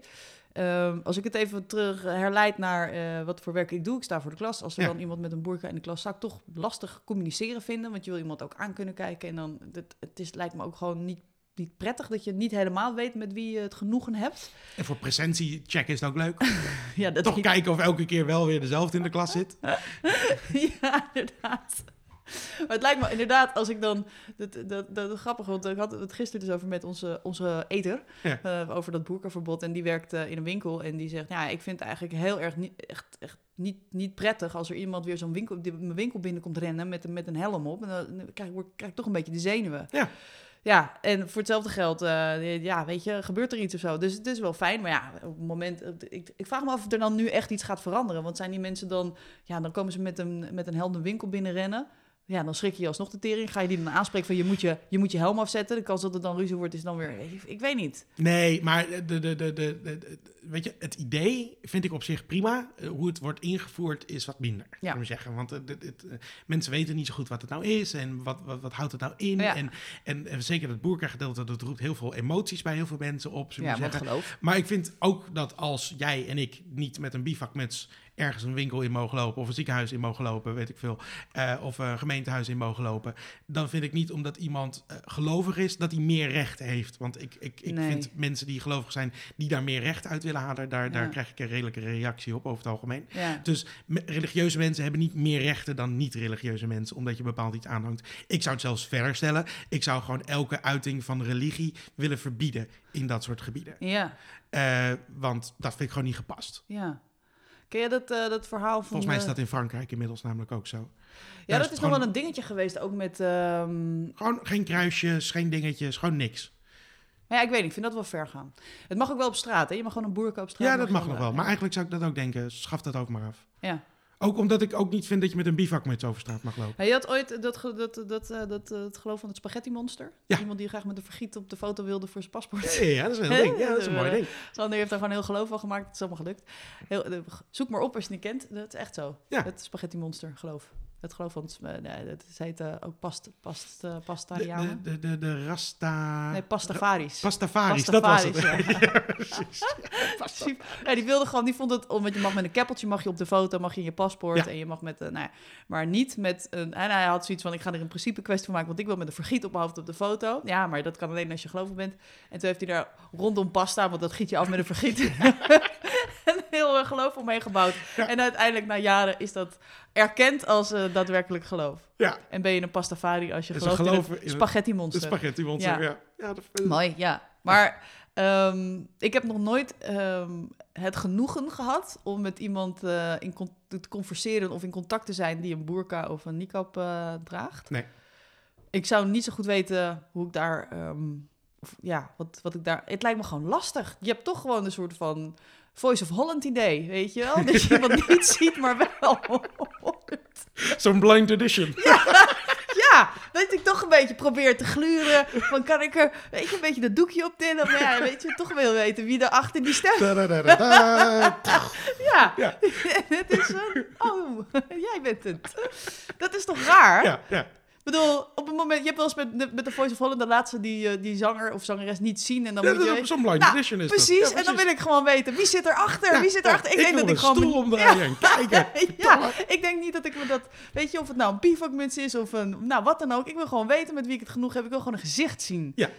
Speaker 2: Ehm, als ik het even terug herleid naar eh, wat voor werk ik doe, ik sta voor de klas. Als er
Speaker 1: Ja.
Speaker 2: dan iemand met een boerka in de klas zou ik toch lastig communiceren vinden, want je wil iemand ook aan kunnen kijken. En dan, het, het is, lijkt me ook gewoon niet, niet prettig dat je niet helemaal weet met wie je het genoegen hebt.
Speaker 1: En voor presentiecheck is het ook leuk.
Speaker 2: ja, dat
Speaker 1: Toch kijken of elke keer wel weer dezelfde in de klas zit.
Speaker 2: ja, inderdaad. Maar het lijkt me inderdaad, als ik dan... Dat, dat, dat, dat grappig, want ik had het gisteren dus over met onze, onze eter.
Speaker 1: Ja.
Speaker 2: eh, over dat boerkaverbod. En die werkt eh, in een winkel. En die zegt, ja, ik vind het eigenlijk heel erg niet, echt, echt niet, niet prettig... als er iemand weer zo'n winkel, die, mijn winkel binnenkomt rennen met, een- met een helm op. En dan krijg, ik- word, krijg ik toch een beetje de zenuwen.
Speaker 1: Ja.
Speaker 2: Ja, en voor hetzelfde geld, eh, ja, weet je, gebeurt er iets of zo. Dus het is wel fijn, maar ja, op het moment... Ik, ik vraag me af of er dan nu echt iets gaat veranderen. Want zijn die mensen dan ja, dan komen ze met een, met een helm de winkel binnenrennen. Ja, dan schrik je je alsnog de tering. Ga je die dan aanspreken van je moet je, je, moet je helm afzetten. De kans dat het dan ruzie wordt is dan weer... Ik, ik weet niet.
Speaker 1: Nee, maar de, de, de, de, de- de- weet je, het idee vind ik op zich prima. Eh, Hoe het wordt ingevoerd is wat minder, ja. ik maar zeggen. Want eh, dit- dit, eh, mensen weten niet zo goed wat het nou is en wat, wat, wat houdt het nou in.
Speaker 2: Ja.
Speaker 1: En, en, en zeker dat boerka-gedeelte, dat roept heel veel emoties bij heel veel mensen op. zullen we
Speaker 2: Ja, wat
Speaker 1: zeggen.
Speaker 2: geloof.
Speaker 1: Maar ik vind ook dat als jij en ik niet met een bivakmuts ergens een winkel in mogen lopen... of een ziekenhuis in mogen lopen, weet ik veel, eh, of een gemeentehuis in mogen lopen... dan vind ik niet omdat iemand eh, gelovig is, dat hij meer recht heeft. Want ik, ik, ik
Speaker 2: Nee.
Speaker 1: vind mensen die gelovig zijn, die daar meer recht uit willen halen... daar, daar
Speaker 2: Ja.
Speaker 1: krijg ik een redelijke reactie op over het algemeen.
Speaker 2: Ja.
Speaker 1: Dus me- religieuze mensen hebben niet meer rechten dan niet-religieuze mensen, omdat je bepaald iets aanhangt. Ik zou het zelfs verder stellen. Ik zou gewoon elke uiting van religie willen verbieden in dat soort gebieden.
Speaker 2: Ja,
Speaker 1: Eh, want dat vind ik gewoon niet gepast.
Speaker 2: ja. Ken je dat, eh, dat verhaal van...
Speaker 1: Volgens mij is
Speaker 2: eh,
Speaker 1: dat in Frankrijk inmiddels namelijk ook zo.
Speaker 2: ja,
Speaker 1: daar is
Speaker 2: dat
Speaker 1: het
Speaker 2: is nog
Speaker 1: gewoon-
Speaker 2: wel een dingetje geweest, ook met... ehm,
Speaker 1: Gewoon geen kruisjes, geen dingetjes, gewoon niks.
Speaker 2: Maar ja, ik weet niet, ik vind dat wel ver gaan. Het mag ook wel op straat, hè? Je mag gewoon een boerka op straat.
Speaker 1: Ja, dat
Speaker 2: je
Speaker 1: mag nog
Speaker 2: gewoon-
Speaker 1: wel. Maar eigenlijk zou ik dat ook denken. Schaf dat ook maar af.
Speaker 2: Ja.
Speaker 1: Ook omdat ik ook niet vind dat je met een bivakmuts over straat mag lopen.
Speaker 2: Ja, je had ooit dat, ge- dat, dat, eh, dat, eh, het geloof van het spaghetti monster.
Speaker 1: Ja.
Speaker 2: Iemand die graag met een vergiet op de foto wilde voor zijn paspoort.
Speaker 1: Ja, dat is een
Speaker 2: Hè?
Speaker 1: heel ding. Ja, dat is een mooi ding.
Speaker 2: Sander heeft daar gewoon heel geloof van gemaakt. Het is allemaal gelukt. Heel, eh, zoek maar op als je het niet kent. Dat is echt zo.
Speaker 1: Ja.
Speaker 2: Het spaghetti monster, geloof. Het geloof van het... sp- eh, nee, dat is heet eh, ook past, past, eh,
Speaker 1: De, de,
Speaker 2: pastarianen.
Speaker 1: de, de, de Rasta...
Speaker 2: Nee, pastafaris.
Speaker 1: Pastafaris, Ah, dat was het.
Speaker 2: Pastafaris, ja. Precies. Ja, die wilde gewoon, die vond het, om- want je mag met een keppeltje mag je op de foto, mag je in je paspoort
Speaker 1: Ja.
Speaker 2: en je mag met, eh, nou ja, maar niet met een, en hij had zoiets van, ik ga er in principe kwestie van maken, want ik wil met een vergiet op mijn hoofd op de foto. Ja, maar dat kan alleen als je gelovig bent. En toen heeft hij daar rondom pasta, want dat giet je af met een vergiet. een heel eh, geloof omheen gebouwd. En uiteindelijk na jaren is dat erkend als eh, daadwerkelijk geloof.
Speaker 1: Ja.
Speaker 2: En ben je een pastafari als je
Speaker 1: Is een
Speaker 2: gelooft
Speaker 1: geloof
Speaker 2: in het
Speaker 1: in het-
Speaker 2: spaghetti
Speaker 1: De
Speaker 2: monster.
Speaker 1: spaghetti monster,
Speaker 2: Ja.
Speaker 1: ja. ja. dat-
Speaker 2: Mooi, ja. Maar ehm, ik heb nog nooit ehm, het genoegen gehad om met iemand eh, in con- te converseren of in contact te zijn die een burka of een niqab eh, draagt.
Speaker 1: Nee.
Speaker 2: Ik zou niet zo goed weten hoe ik daar. ehm, of, ja, wat, wat ik daar. Het lijkt me gewoon lastig. Je hebt toch gewoon een soort van Voice of Holland idee, weet je wel? Dat je iemand niet ziet, maar wel.
Speaker 1: Zo'n blind edition.
Speaker 2: Ja, dat ik toch een beetje probeer te gluren. Van kan ik er, weet je, een beetje dat doekje op tillen? Maar ja, weet je, toch wil weten wie erachter die stem.
Speaker 1: Da-da-da-da-da.
Speaker 2: Ja,
Speaker 1: Ja.
Speaker 2: het is een, oh, jij bent het. Dat is toch raar?
Speaker 1: Ja, ja.
Speaker 2: Ik bedoel, op het moment, je hebt wel eens met, de- met de Voice of Holland de laatste die, eh, die zanger of zangeres niet zien. En dan
Speaker 1: Ja,
Speaker 2: moet je...
Speaker 1: dat is Zo'n blind
Speaker 2: Nou,
Speaker 1: edition is dat.
Speaker 2: Precies,
Speaker 1: Ja,
Speaker 2: en dan wil ik gewoon weten, wie zit erachter?
Speaker 1: Ja,
Speaker 2: wie zit erachter?
Speaker 1: ja,
Speaker 2: Ik, denk
Speaker 1: wil
Speaker 2: dat ik
Speaker 1: een
Speaker 2: gewoon...
Speaker 1: stoel om de heen kijken.
Speaker 2: Ja, ik denk niet dat ik me dat... Weet je, of het nou een bivakmuts is of een... Nou, wat dan ook. Ik wil gewoon weten met wie ik het genoeg heb. Ik wil gewoon een gezicht zien.
Speaker 1: Ja.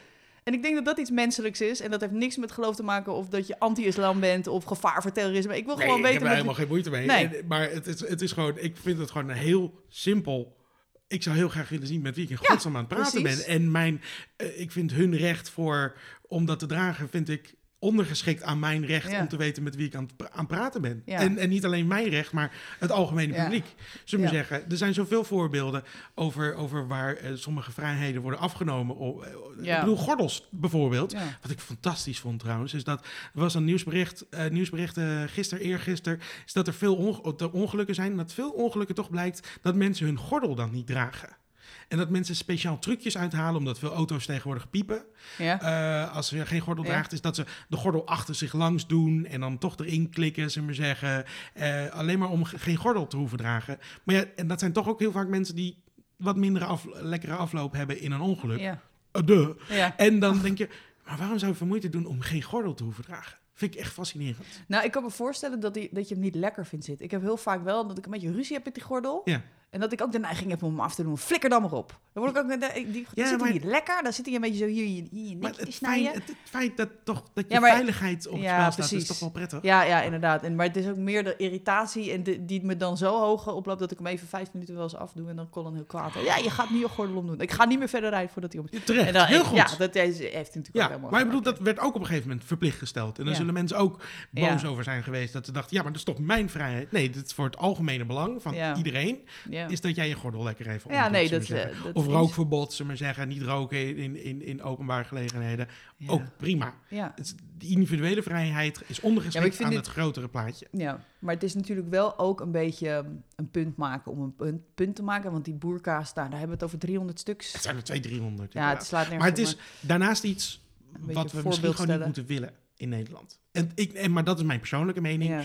Speaker 2: En ik denk dat dat iets menselijks is. En dat heeft niks met geloof te maken of dat je anti-islam bent of gevaar voor terrorisme. Ik wil
Speaker 1: Nee,
Speaker 2: gewoon
Speaker 1: ik
Speaker 2: weten...
Speaker 1: heb er
Speaker 2: met
Speaker 1: helemaal geen moeite mee.
Speaker 2: Nee.
Speaker 1: En- maar het is, het is gewoon, ik vind het gewoon een heel simpel. Ik zou heel graag willen zien met wie ik in
Speaker 2: Ja,
Speaker 1: godsnaam aan het praten
Speaker 2: precies.
Speaker 1: ben. En mijn, eh, ik vind hun recht voor, om dat te dragen, vind ik ondergeschikt aan mijn recht
Speaker 2: Ja.
Speaker 1: om te weten met wie ik aan het pra- aan het praten ben.
Speaker 2: Ja.
Speaker 1: En, en niet alleen mijn recht, maar het algemene
Speaker 2: Ja.
Speaker 1: publiek. Zullen we
Speaker 2: Ja.
Speaker 1: zeggen, er zijn zoveel voorbeelden over, over waar eh, sommige vrijheden worden afgenomen. O- eh,
Speaker 2: Ja.
Speaker 1: Ik bedoel, gordels bijvoorbeeld.
Speaker 2: Ja.
Speaker 1: Wat ik fantastisch vond trouwens, is dat er was een nieuwsbericht, eh nieuwsbericht eh gisteren, eergisteren, is dat er veel onge- dat er ongelukken zijn. En dat veel ongelukken toch blijkt dat mensen hun gordel dan niet dragen. En dat mensen speciaal trucjes uithalen, omdat veel auto's tegenwoordig piepen.
Speaker 2: Ja.
Speaker 1: Eh, als je geen gordel
Speaker 2: Ja.
Speaker 1: draagt, is dat ze de gordel achter zich langs doen en dan toch erin klikken, ze maar zeggen. Eh, alleen maar om ge- geen gordel te hoeven dragen. Maar ja, en dat zijn toch ook heel vaak mensen die wat mindere af, lekkere afloop hebben in een ongeluk.
Speaker 2: Ja.
Speaker 1: Eh, duh.
Speaker 2: ja.
Speaker 1: En dan denk je, maar waarom zou je veel moeite doen om geen gordel te hoeven dragen? Vind ik echt fascinerend.
Speaker 2: Nou, ik kan me voorstellen dat, die, dat je hem niet lekker vindt zitten. Ik heb heel vaak wel dat ik een beetje ruzie heb met die gordel.
Speaker 1: Ja.
Speaker 2: En dat ik ook de neiging heb om hem af te doen. Flikker dan maar op. Dan word ik ook... Die, die,
Speaker 1: Ja,
Speaker 2: zit hij
Speaker 1: maar-
Speaker 2: niet lekker? Dan zit hij een beetje zo hier, hier, hier je
Speaker 1: Maar
Speaker 2: nekje te
Speaker 1: het
Speaker 2: snijden.
Speaker 1: feit, het, het feit dat, toch, dat je
Speaker 2: Ja, maar-
Speaker 1: veiligheid op het
Speaker 2: Ja,
Speaker 1: spel staat, is
Speaker 2: precies.
Speaker 1: toch wel prettig?
Speaker 2: Ja, ja, inderdaad. En, maar het is ook meer de irritatie en de- die me dan zo hoog oploopt dat ik hem even vijf minuten wel eens afdoe en dan Colin heel kwaad. Ja, je gaat nu je gordel omdoen. Ik ga niet meer verder rijden voordat hij om.
Speaker 1: Ja, Terecht,
Speaker 2: En dan,
Speaker 1: heel goed.
Speaker 2: Ja,
Speaker 1: Ja,
Speaker 2: dat heeft hij natuurlijk ook helemaal.
Speaker 1: maar ik bedoel,
Speaker 2: gelijk.
Speaker 1: dat werd ook op een gegeven moment verplicht gesteld. En dan
Speaker 2: Ja.
Speaker 1: zullen mensen ook boos
Speaker 2: Ja.
Speaker 1: over zijn geweest. Dat ze dachten, ja, maar dat is toch mijn vrijheid? Nee, dit is voor het algemene belang van
Speaker 2: Ja.
Speaker 1: iedereen.
Speaker 2: Ja,
Speaker 1: Is dat jij je gordel lekker even
Speaker 2: ja
Speaker 1: omdoet,
Speaker 2: nee,
Speaker 1: zullen
Speaker 2: dat,
Speaker 1: we zeggen.
Speaker 2: eh, dat
Speaker 1: Of
Speaker 2: is-
Speaker 1: rookverbod, ze maar zeggen. Niet roken in, in, in openbare gelegenheden.
Speaker 2: Ja.
Speaker 1: Ook prima.
Speaker 2: Ja.
Speaker 1: Het is- De individuele vrijheid is ondergeschikt
Speaker 2: vind
Speaker 1: aan
Speaker 2: dit-
Speaker 1: het grotere plaatje.
Speaker 2: Ja, maar het is natuurlijk wel ook een beetje ehm, een punt maken om een punt, punt te maken. Want die boerka's, nou, daar hebben we het over 300 stuks.
Speaker 1: Het zijn er twee 300.
Speaker 2: Ja, het
Speaker 1: inderdaad.
Speaker 2: slaat nergens
Speaker 1: maar het
Speaker 2: op,
Speaker 1: is daarnaast iets
Speaker 2: beetje
Speaker 1: wat we
Speaker 2: een
Speaker 1: misschien
Speaker 2: voorbeeld
Speaker 1: gewoon niet
Speaker 2: stellen.
Speaker 1: moeten willen in Nederland. En ik, en, maar dat is mijn persoonlijke mening.
Speaker 2: Ja.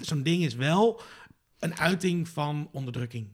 Speaker 1: Zo'n ding is wel een uiting van onderdrukking.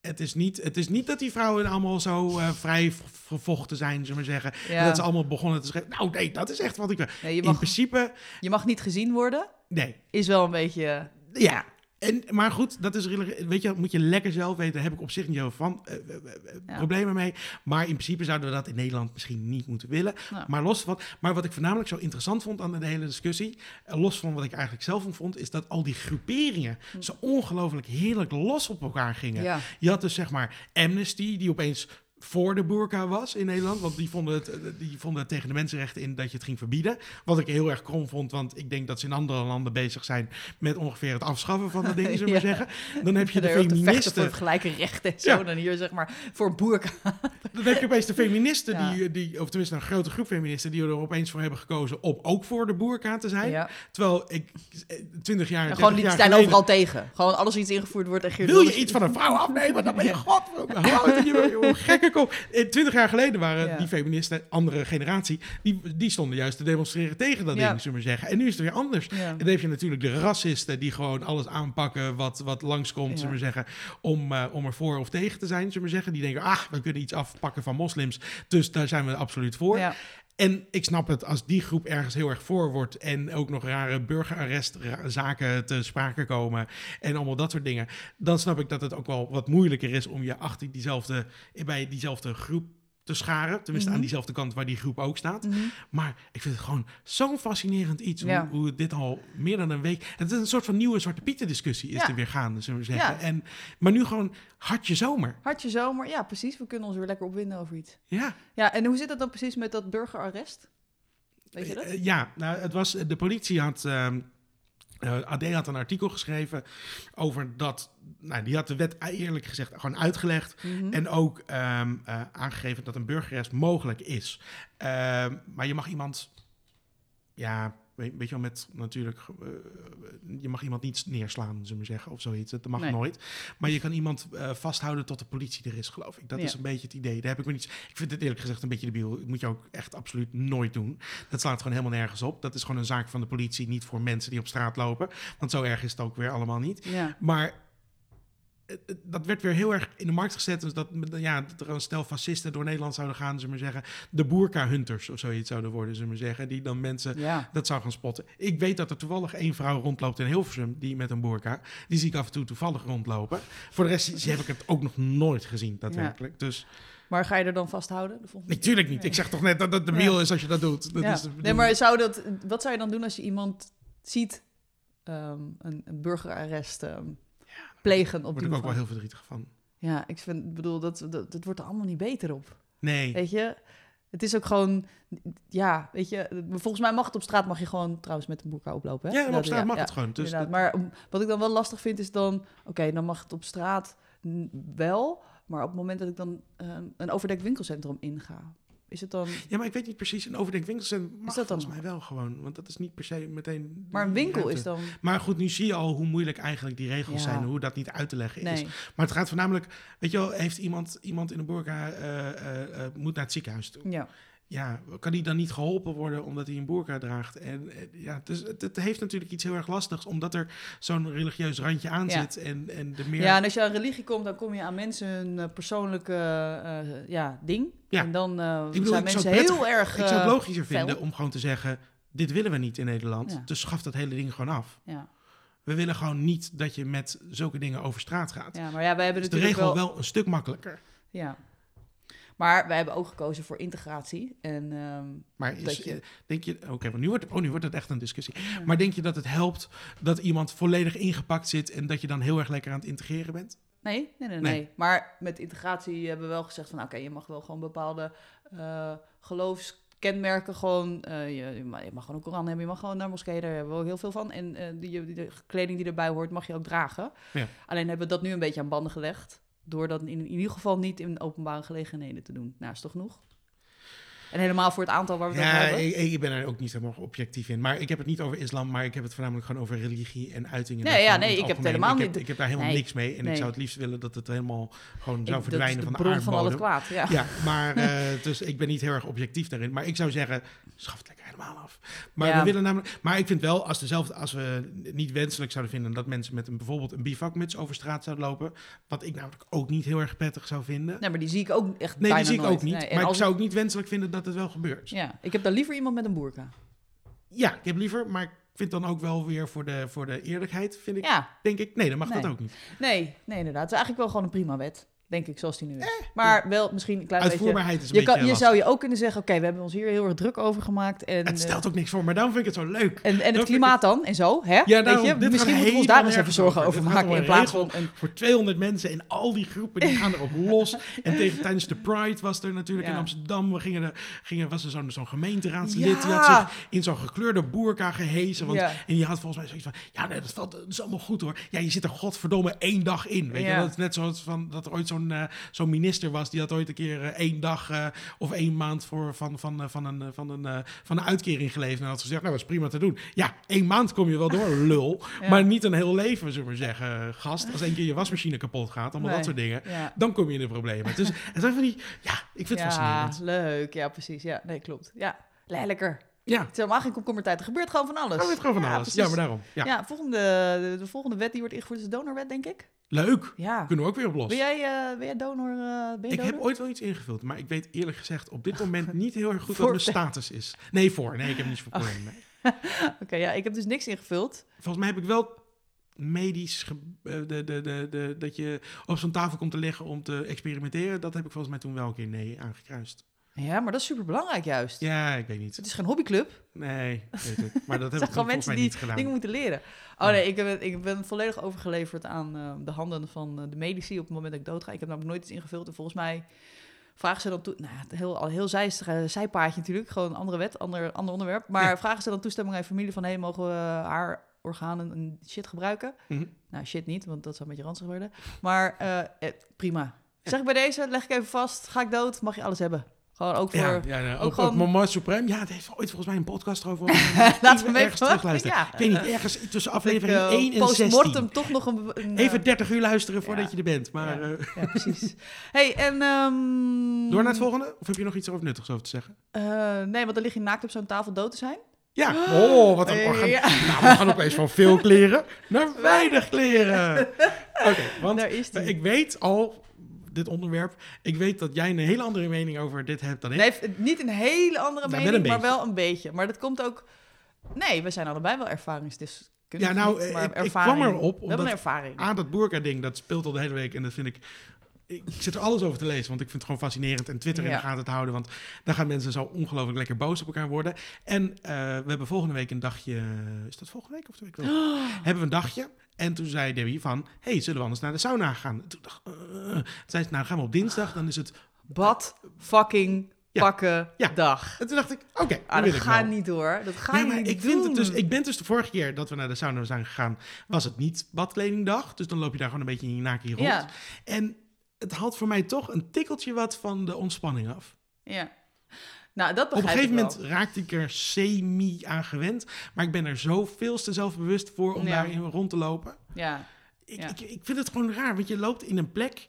Speaker 1: Het is niet, het is niet dat die vrouwen allemaal zo eh, vrij v- vervochten zijn, zullen we zeggen. En
Speaker 2: Ja.
Speaker 1: Dat ze allemaal begonnen te schrijven. Nou nee, dat is echt wat ik wil.
Speaker 2: Nee, je,
Speaker 1: In
Speaker 2: mag,
Speaker 1: principe,
Speaker 2: je mag niet gezien worden,
Speaker 1: nee.
Speaker 2: is wel een beetje...
Speaker 1: Ja. En, maar goed, dat is rela- weet je, dat moet je lekker zelf weten. Daar heb ik op zich niet heel van eh, eh, eh,
Speaker 2: Ja.
Speaker 1: problemen mee. Maar in principe zouden we dat in Nederland misschien niet moeten willen.
Speaker 2: Nou.
Speaker 1: Maar los van, maar wat ik voornamelijk zo interessant vond aan de hele discussie, eh, los van wat ik eigenlijk zelf van vond, is dat al die groeperingen zo ongelooflijk heerlijk los op elkaar gingen.
Speaker 2: Hm. Ja.
Speaker 1: Je had dus zeg maar Amnesty die opeens voor de burka was in Nederland. Want die vonden, het, eh, die vonden het tegen de mensenrechten in dat je het ging verbieden. Wat ik heel erg krom vond, want ik denk dat ze in andere landen bezig zijn met ongeveer het afschaffen van dat ding, zullen we
Speaker 2: Ja.
Speaker 1: zeggen. Dan heb je de
Speaker 2: Daar ook te vechten
Speaker 1: feministen.
Speaker 2: voor gelijke rechten en zo.
Speaker 1: Ja.
Speaker 2: Dan hier zeg maar voor boerka.
Speaker 1: Dan heb je opeens de feministen,
Speaker 2: Ja.
Speaker 1: die, die, of tenminste een grote groep feministen, die er opeens voor hebben gekozen om ook voor de boerka te zijn.
Speaker 2: Ja.
Speaker 1: Terwijl ik eh, 20 jaar.
Speaker 2: En
Speaker 1: 30
Speaker 2: gewoon die
Speaker 1: jaar
Speaker 2: staan
Speaker 1: geleden-
Speaker 2: overal tegen. Gewoon alles iets ingevoerd wordt en Geert
Speaker 1: Wil je
Speaker 2: Wilders-
Speaker 1: iets van een vrouw afnemen? Dan ben je god. Hou het in je joh, gekke kop. Eh, 20 jaar geleden waren
Speaker 2: Ja.
Speaker 1: die feministen, andere generatie, die, die stonden juist te demonstreren tegen dat
Speaker 2: Ja.
Speaker 1: ding, zullen we zeggen. En nu is het weer anders.
Speaker 2: Ja.
Speaker 1: En dan heb je natuurlijk de racisten die gewoon alles aanpakken wat, wat langskomt,
Speaker 2: Ja.
Speaker 1: zullen we zeggen, om, eh om er voor of tegen te zijn, zullen we zeggen. Die denken, ah, we kunnen iets afpakken van moslims, dus daar zijn we absoluut voor.
Speaker 2: Ja.
Speaker 1: En ik snap het, als die groep ergens heel erg voor wordt en ook nog rare burgerarrestzaken te sprake komen en allemaal dat soort dingen, dan snap ik dat het ook wel wat moeilijker is om je achter diezelfde, bij diezelfde groep te scharen. Tenminste,
Speaker 2: Mhm.
Speaker 1: aan diezelfde kant waar die groep ook staat. Maar ik vind het gewoon zo'n fascinerend iets
Speaker 2: Ja.
Speaker 1: hoe, hoe dit al meer dan een week... Het is een soort van nieuwe Zwarte Pieten discussie is
Speaker 2: Ja.
Speaker 1: er weer gaande, zullen we zeggen.
Speaker 2: Ja.
Speaker 1: En, maar nu gewoon hartje zomer.
Speaker 2: Hartje zomer. Ja, precies. We kunnen ons weer lekker opwinden over iets.
Speaker 1: Ja.
Speaker 2: Ja, en hoe zit dat dan precies met dat burgerarrest? Weet je dat?
Speaker 1: Eh, Ja, nou, het was, de politie had. ehm, eh, AD had een artikel geschreven over dat. Nou, die had de wet eerlijk gezegd gewoon uitgelegd.
Speaker 2: Mhm.
Speaker 1: En ook ehm, eh, aangegeven dat een burgerrest mogelijk is. Ehm, maar je mag iemand. Ja, weet, weet je wel, met natuurlijk. eh, je mag iemand niet neerslaan, zullen we zeggen, of zoiets. Dat mag
Speaker 2: Nee.
Speaker 1: nooit. Maar je kan iemand eh, vasthouden tot de politie er is, geloof ik. Dat
Speaker 2: Ja.
Speaker 1: is een beetje het idee. Daar heb ik me niet. Ik vind het eerlijk gezegd een beetje debiel. Dat moet je ook echt absoluut nooit doen. Dat slaat gewoon helemaal nergens op. Dat is gewoon een zaak van de politie, niet voor mensen die op straat lopen. Want zo erg is het ook weer allemaal niet.
Speaker 2: Ja.
Speaker 1: Maar het- het- dat werd weer heel erg in de markt gezet. Dus dat, ja, dat er een stel fascisten door Nederland zouden gaan, zullen we maar zeggen. De boerka-hunters of zoiets zouden worden, zullen we maar zeggen. Die dan mensen
Speaker 2: Ja.
Speaker 1: dat zou gaan spotten. Ik weet dat er toevallig één vrouw rondloopt in Hilversum, die met een boerka. Die zie ik af en toe toevallig rondlopen. Voor de rest zie- heb ik het ook nog nooit gezien, daadwerkelijk. Dus
Speaker 2: Maar ga je er dan vasthouden? De volgende keer?
Speaker 1: natuurlijk niet. Ik zeg toch net dat het de
Speaker 2: Ja.
Speaker 1: wiel is als je dat doet. Dat
Speaker 2: Ja.
Speaker 1: is de
Speaker 2: nee, maar zou dat, wat zou je dan doen als je iemand ziet ehm, een, een burgerarrest ehm, plegen op
Speaker 1: Daar
Speaker 2: die
Speaker 1: word ik ook wel
Speaker 2: manier?
Speaker 1: heel verdrietig van.
Speaker 2: Ja, ik vind, bedoel, dat, dat, dat wordt er allemaal niet beter op.
Speaker 1: Nee.
Speaker 2: Weet je, het is ook gewoon, ja, weet je, volgens mij mag het op straat, mag je gewoon trouwens met een boerka oplopen. Hè?
Speaker 1: Ja, maar op straat mag
Speaker 2: ja,
Speaker 1: het gewoon. Dus
Speaker 2: inderdaad. Maar om- wat ik dan wel lastig vind is dan... Oké, dan mag het op straat n- wel... maar op het moment dat ik dan eh, een overdekt winkelcentrum inga... is het dan...
Speaker 1: Ja, maar ik weet niet precies. Een overdenk winkelcentrum mag
Speaker 2: Is dat dan
Speaker 1: volgens mij wel gewoon. Want dat is niet per se meteen... de
Speaker 2: Maar een winkel
Speaker 1: ruimte.
Speaker 2: is dan...
Speaker 1: Maar goed, nu zie je al hoe moeilijk eigenlijk die regels
Speaker 2: Ja.
Speaker 1: zijn. Hoe dat niet uit te leggen is.
Speaker 2: Nee,
Speaker 1: Maar het gaat voornamelijk... Weet je wel, heeft iemand, iemand in een burka... eh, eh, eh, moet naar het ziekenhuis toe.
Speaker 2: ja.
Speaker 1: Ja, kan die dan niet geholpen worden omdat hij een burka draagt? En eh, ja, dus het, het heeft natuurlijk iets heel erg lastigs. Omdat er zo'n religieus randje aan
Speaker 2: Ja.
Speaker 1: zit. En, en de meer...
Speaker 2: ja, nou, en als je aan religie komt... dan kom je aan mensen hun eh, persoonlijke eh, ja, ding.
Speaker 1: Ja.
Speaker 2: En dan eh,
Speaker 1: bedoel,
Speaker 2: zijn
Speaker 1: ik zou
Speaker 2: mensen
Speaker 1: het prettig-
Speaker 2: heel erg...
Speaker 1: ik zou het
Speaker 2: eh,
Speaker 1: logischer
Speaker 2: fel.
Speaker 1: vinden om gewoon te zeggen... Dit willen we niet in Nederland.
Speaker 2: Ja.
Speaker 1: Dus schaf dat hele ding gewoon af.
Speaker 2: ja.
Speaker 1: We willen gewoon niet dat je met zulke dingen over straat gaat.
Speaker 2: ja, maar ja, wij hebben
Speaker 1: Is Dus de
Speaker 2: natuurlijk
Speaker 1: regel
Speaker 2: wel...
Speaker 1: wel een stuk makkelijker.
Speaker 2: Ja. Maar wij hebben ook gekozen voor integratie. En ehm,
Speaker 1: Maar is, eh,
Speaker 2: Dat je-
Speaker 1: denk je, oké, want nu wordt, oh, nu wordt het echt een discussie. Maar denk je dat het helpt dat iemand volledig ingepakt zit en dat je dan heel erg lekker aan het integreren bent?
Speaker 2: Nee, nee, nee,
Speaker 1: Nee.
Speaker 2: nee, Maar met integratie hebben we wel gezegd van... oké, je mag wel gewoon bepaalde eh, geloofskenmerken gewoon... eh, je, je mag, je mag gewoon een Koran hebben, je mag gewoon naar moskee, daar hebben we ook heel veel van. En eh, die, die- de kleding die erbij hoort mag je ook dragen.
Speaker 1: Ja.
Speaker 2: Alleen hebben we dat nu een beetje aan banden gelegd... door dat in, in ieder geval niet in openbare gelegenheden te doen. Nou, is toch genoeg? En helemaal voor het aantal waar we het
Speaker 1: Ja,
Speaker 2: over hebben.
Speaker 1: ik, ik ben er ook niet helemaal objectief in. Maar ik heb het niet over islam, maar ik heb het voornamelijk gewoon over religie en uitingen.
Speaker 2: Nee,
Speaker 1: daarvan
Speaker 2: ja,
Speaker 1: in
Speaker 2: nee,
Speaker 1: het
Speaker 2: ik heb het
Speaker 1: algemeen.
Speaker 2: helemaal
Speaker 1: ik heb,
Speaker 2: niet-
Speaker 1: Ik heb daar helemaal
Speaker 2: Nee,
Speaker 1: niks mee en ik
Speaker 2: nee.
Speaker 1: zou het liefst willen dat het helemaal gewoon
Speaker 2: Ik-
Speaker 1: zou verdwijnen
Speaker 2: dat is
Speaker 1: van
Speaker 2: de
Speaker 1: de
Speaker 2: bron van al het
Speaker 1: aardbodem.
Speaker 2: kwaad, ja.
Speaker 1: Ja, maar eh, dus ik ben niet heel erg objectief daarin. Maar ik zou zeggen, schaf het lekker helemaal af. Maar
Speaker 2: Ja.
Speaker 1: we willen namelijk. Maar ik vind wel, als, dezelfde, als we niet wenselijk zouden vinden dat mensen met een, bijvoorbeeld een bivakmuts over straat zouden lopen. Wat ik namelijk ook niet heel erg prettig zou vinden.
Speaker 2: Nee, maar die zie ik ook echt
Speaker 1: Nee,
Speaker 2: bijna
Speaker 1: die zie ik
Speaker 2: nooit.
Speaker 1: ook niet.
Speaker 2: Nee, en
Speaker 1: maar ik
Speaker 2: als-
Speaker 1: zou ook niet wenselijk vinden dat het wel gebeurt. Ja,
Speaker 2: Ja, ik heb daar liever iemand met een boerka.
Speaker 1: ik heb liever, maar ik vind dan ook wel weer voor de, voor de eerlijkheid, vind ik,
Speaker 2: Ja,
Speaker 1: denk ik, nee, dan mag dat
Speaker 2: Nee.
Speaker 1: ook niet.
Speaker 2: nee, nee, inderdaad. Het is eigenlijk wel gewoon een prima wet. Denk ik, zoals die nu
Speaker 1: Eh,
Speaker 2: is. Maar wel misschien een klein beetje...
Speaker 1: Uitvoerbaarheid is een
Speaker 2: Je,
Speaker 1: beetje
Speaker 2: kan, je
Speaker 1: lastig.
Speaker 2: zou je ook kunnen zeggen, oké, we hebben ons hier heel erg druk over gemaakt. En,
Speaker 1: Het
Speaker 2: eh,
Speaker 1: stelt ook niks voor, maar daarom vind ik het zo leuk.
Speaker 2: en, en het
Speaker 1: vind ik
Speaker 2: klimaat dan en zo, hè?
Speaker 1: daarom,
Speaker 2: Weet
Speaker 1: dit
Speaker 2: je?
Speaker 1: gaat
Speaker 2: Misschien moeten we ons daar
Speaker 1: helemaal
Speaker 2: eens even
Speaker 1: nergens
Speaker 2: zorgen
Speaker 1: over.
Speaker 2: over
Speaker 1: Dit gaat
Speaker 2: maken.
Speaker 1: om
Speaker 2: In
Speaker 1: een
Speaker 2: plaats
Speaker 1: regel.
Speaker 2: van een
Speaker 1: Voor 200 mensen en al die groepen die gaan erop los. En tegen, tijdens de Pride was er natuurlijk
Speaker 2: Ja.
Speaker 1: in Amsterdam, we gingen de, gingen, was er zo'n zo'n gemeenteraadslid. Die had
Speaker 2: Ja.
Speaker 1: zich in zo'n gekleurde boerka gehezen. Want,
Speaker 2: Ja.
Speaker 1: En die had volgens mij zoiets van, ja nee, dat, valt, dat is allemaal goed hoor. Ja, je zit er godverdomme één dag in. Weet
Speaker 2: Ja.
Speaker 1: je? Dat is net zoals van, dat er ooit zo'n eh, zo'n minister was. Die had ooit een keer eh, één dag eh, of één maand voor, van, van, eh, van, een, eh, van, een, eh, van een uitkering geleefd. En had gezegd, nou dat is prima te doen. Ja, één maand kom je wel door, lul.
Speaker 2: Ja.
Speaker 1: Maar niet een heel leven, zullen we maar zeggen, eh, gast. Als één keer je wasmachine kapot gaat, allemaal
Speaker 2: Nee.
Speaker 1: dat soort dingen.
Speaker 2: Ja.
Speaker 1: Dan kom je in de problemen. Dus het zijn van die, ja, ik vind het
Speaker 2: ja,
Speaker 1: fascinerend.
Speaker 2: leuk. Ja, precies. Ja, nee, klopt. Ja, lekker.
Speaker 1: Ja,
Speaker 2: Het is helemaal geen komkommertijd. Er gebeurt gewoon van alles.
Speaker 1: dan weet gewoon van
Speaker 2: Ja,
Speaker 1: alles. Ja,
Speaker 2: precies.
Speaker 1: maar daarom. Ja.
Speaker 2: Ja, volgende, de, de volgende wet die wordt ingevoerd is de donorwet, denk ik.
Speaker 1: Leuk,
Speaker 2: Ja.
Speaker 1: kunnen we ook weer op los.
Speaker 2: Ben jij, eh, ben jij donor? eh, ben je
Speaker 1: Ik
Speaker 2: donor?
Speaker 1: heb ooit wel iets ingevuld, maar ik weet eerlijk gezegd op dit moment niet heel erg goed
Speaker 2: Voor-
Speaker 1: wat mijn status is. Nee, voor. Nee, ik heb niets
Speaker 2: Oh.
Speaker 1: voor problemen. Nee.
Speaker 2: Oké, ja, ik heb dus niks ingevuld.
Speaker 1: Volgens mij heb ik wel medisch ge- eh, de, de, de, de, dat je op zo'n tafel komt te liggen om te experimenteren. Dat heb ik volgens mij toen wel een keer nee aangekruist.
Speaker 2: Ja, maar dat is super belangrijk juist.
Speaker 1: Ja, ik weet niet.
Speaker 2: Het is geen hobbyclub.
Speaker 1: Nee, weet ik. Maar dat heb ik
Speaker 2: Het zijn
Speaker 1: toen
Speaker 2: Dus- gewoon
Speaker 1: volgens
Speaker 2: mensen
Speaker 1: mij
Speaker 2: die
Speaker 1: niet gedaan.
Speaker 2: dingen moeten leren. Oh
Speaker 1: Ja.
Speaker 2: nee, ik ben, ik ben volledig overgeleverd aan eh, de handen van eh, de medici op het moment dat ik doodga. Ik heb namelijk nooit iets ingevuld. En volgens mij vragen ze dan toe... Nou, het heel, al heel zij, eh, zijpaadje natuurlijk. Gewoon een andere wet, ander, ander onderwerp. Maar
Speaker 1: Ja.
Speaker 2: vragen ze dan toestemming aan je familie van... hé, hey, mogen we haar organen en shit gebruiken?
Speaker 1: Mhm.
Speaker 2: Nou, shit niet, want dat zou een beetje ranzig worden. Maar eh, eh, prima. Zeg ik bij deze, leg ik even vast. Ga ik dood, mag je alles hebben. Gewoon ook voor...
Speaker 1: Ja, ja, ja, ook, ook
Speaker 2: gewoon-
Speaker 1: Moment Supreme. Ja, het heeft ooit volgens mij een podcast over.
Speaker 2: Laten we hem
Speaker 1: Even
Speaker 2: even
Speaker 1: ergens terugluisteren.
Speaker 2: Ja.
Speaker 1: Ik weet niet, ergens tussen
Speaker 2: ik,
Speaker 1: aflevering
Speaker 2: eh,
Speaker 1: 1 en 16.
Speaker 2: postmortem toch nog een... een, eh,
Speaker 1: Even 30 uur luisteren voordat
Speaker 2: Ja.
Speaker 1: je er bent. Maar
Speaker 2: Ja.
Speaker 1: eh,
Speaker 2: Ja, precies. hey, en... ehm,
Speaker 1: door naar het volgende? Of heb je nog iets over nuttigs over te zeggen?
Speaker 2: eh, nee, want dan lig je naakt op zo'n tafel dood te zijn.
Speaker 1: Ja, oh, wat een
Speaker 2: Eh,
Speaker 1: orgaan.
Speaker 2: ja.
Speaker 1: Nou, we gaan opeens van veel kleren naar weinig kleren. Oké, want eh,
Speaker 2: Daar is die.
Speaker 1: ik weet al, dit onderwerp, ik weet dat jij een hele andere mening over dit hebt dan ik.
Speaker 2: Nee, v- niet een hele andere
Speaker 1: Nou, wel
Speaker 2: mening,
Speaker 1: een
Speaker 2: maar
Speaker 1: beetje.
Speaker 2: wel een beetje. Maar dat komt ook... Nee, we zijn allebei wel ervaringsdeskundigen.
Speaker 1: Ja, nou,
Speaker 2: niet, maar
Speaker 1: ik- ik
Speaker 2: ervaring.
Speaker 1: kwam erop
Speaker 2: We hebben
Speaker 1: omdat-
Speaker 2: een ervaring.
Speaker 1: Ah, dat Boerka-ding, dat speelt al de hele week. En dat vind ik... Ik zit er alles over te lezen, want ik vind het gewoon fascinerend. En Twitter in
Speaker 2: Ja.
Speaker 1: de gaten te houden, want daar gaan mensen zo ongelooflijk lekker boos op elkaar worden. En eh, we hebben volgende week een dagje... Is dat volgende week of de week wel?
Speaker 2: Oh.
Speaker 1: Hebben we een dagje. En toen zei Debbie van, hey, zullen we anders naar de sauna gaan? Toen dacht ik, eh, eh. Toen zei ze, nou gaan we op dinsdag, dan is het...
Speaker 2: Bad fucking
Speaker 1: Ja.
Speaker 2: pakken
Speaker 1: Ja.
Speaker 2: dag.
Speaker 1: En toen dacht ik, oké, dan
Speaker 2: Ah,
Speaker 1: wil
Speaker 2: dat
Speaker 1: ik
Speaker 2: gaat
Speaker 1: wel.
Speaker 2: niet door. Dat ga
Speaker 1: Nee,
Speaker 2: je
Speaker 1: maar
Speaker 2: niet
Speaker 1: ik
Speaker 2: doen.
Speaker 1: vind het dus. Ik ben dus de vorige keer dat we naar de sauna zijn gegaan, was het niet badkledingdag. Dus dan loop je daar gewoon een beetje in je naakje rond.
Speaker 2: Ja.
Speaker 1: En het haalt voor mij toch een tikkeltje wat van de ontspanning af.
Speaker 2: Ja. Nou, dat begrijp
Speaker 1: Op een gegeven
Speaker 2: ik wel.
Speaker 1: moment raakte ik er semi aan gewend. Maar ik ben er zoveel te zelfbewust voor om
Speaker 2: Ja.
Speaker 1: daarin rond te lopen.
Speaker 2: Ja.
Speaker 1: Ik,
Speaker 2: Ja.
Speaker 1: ik, ik vind het gewoon raar, want je loopt in een plek.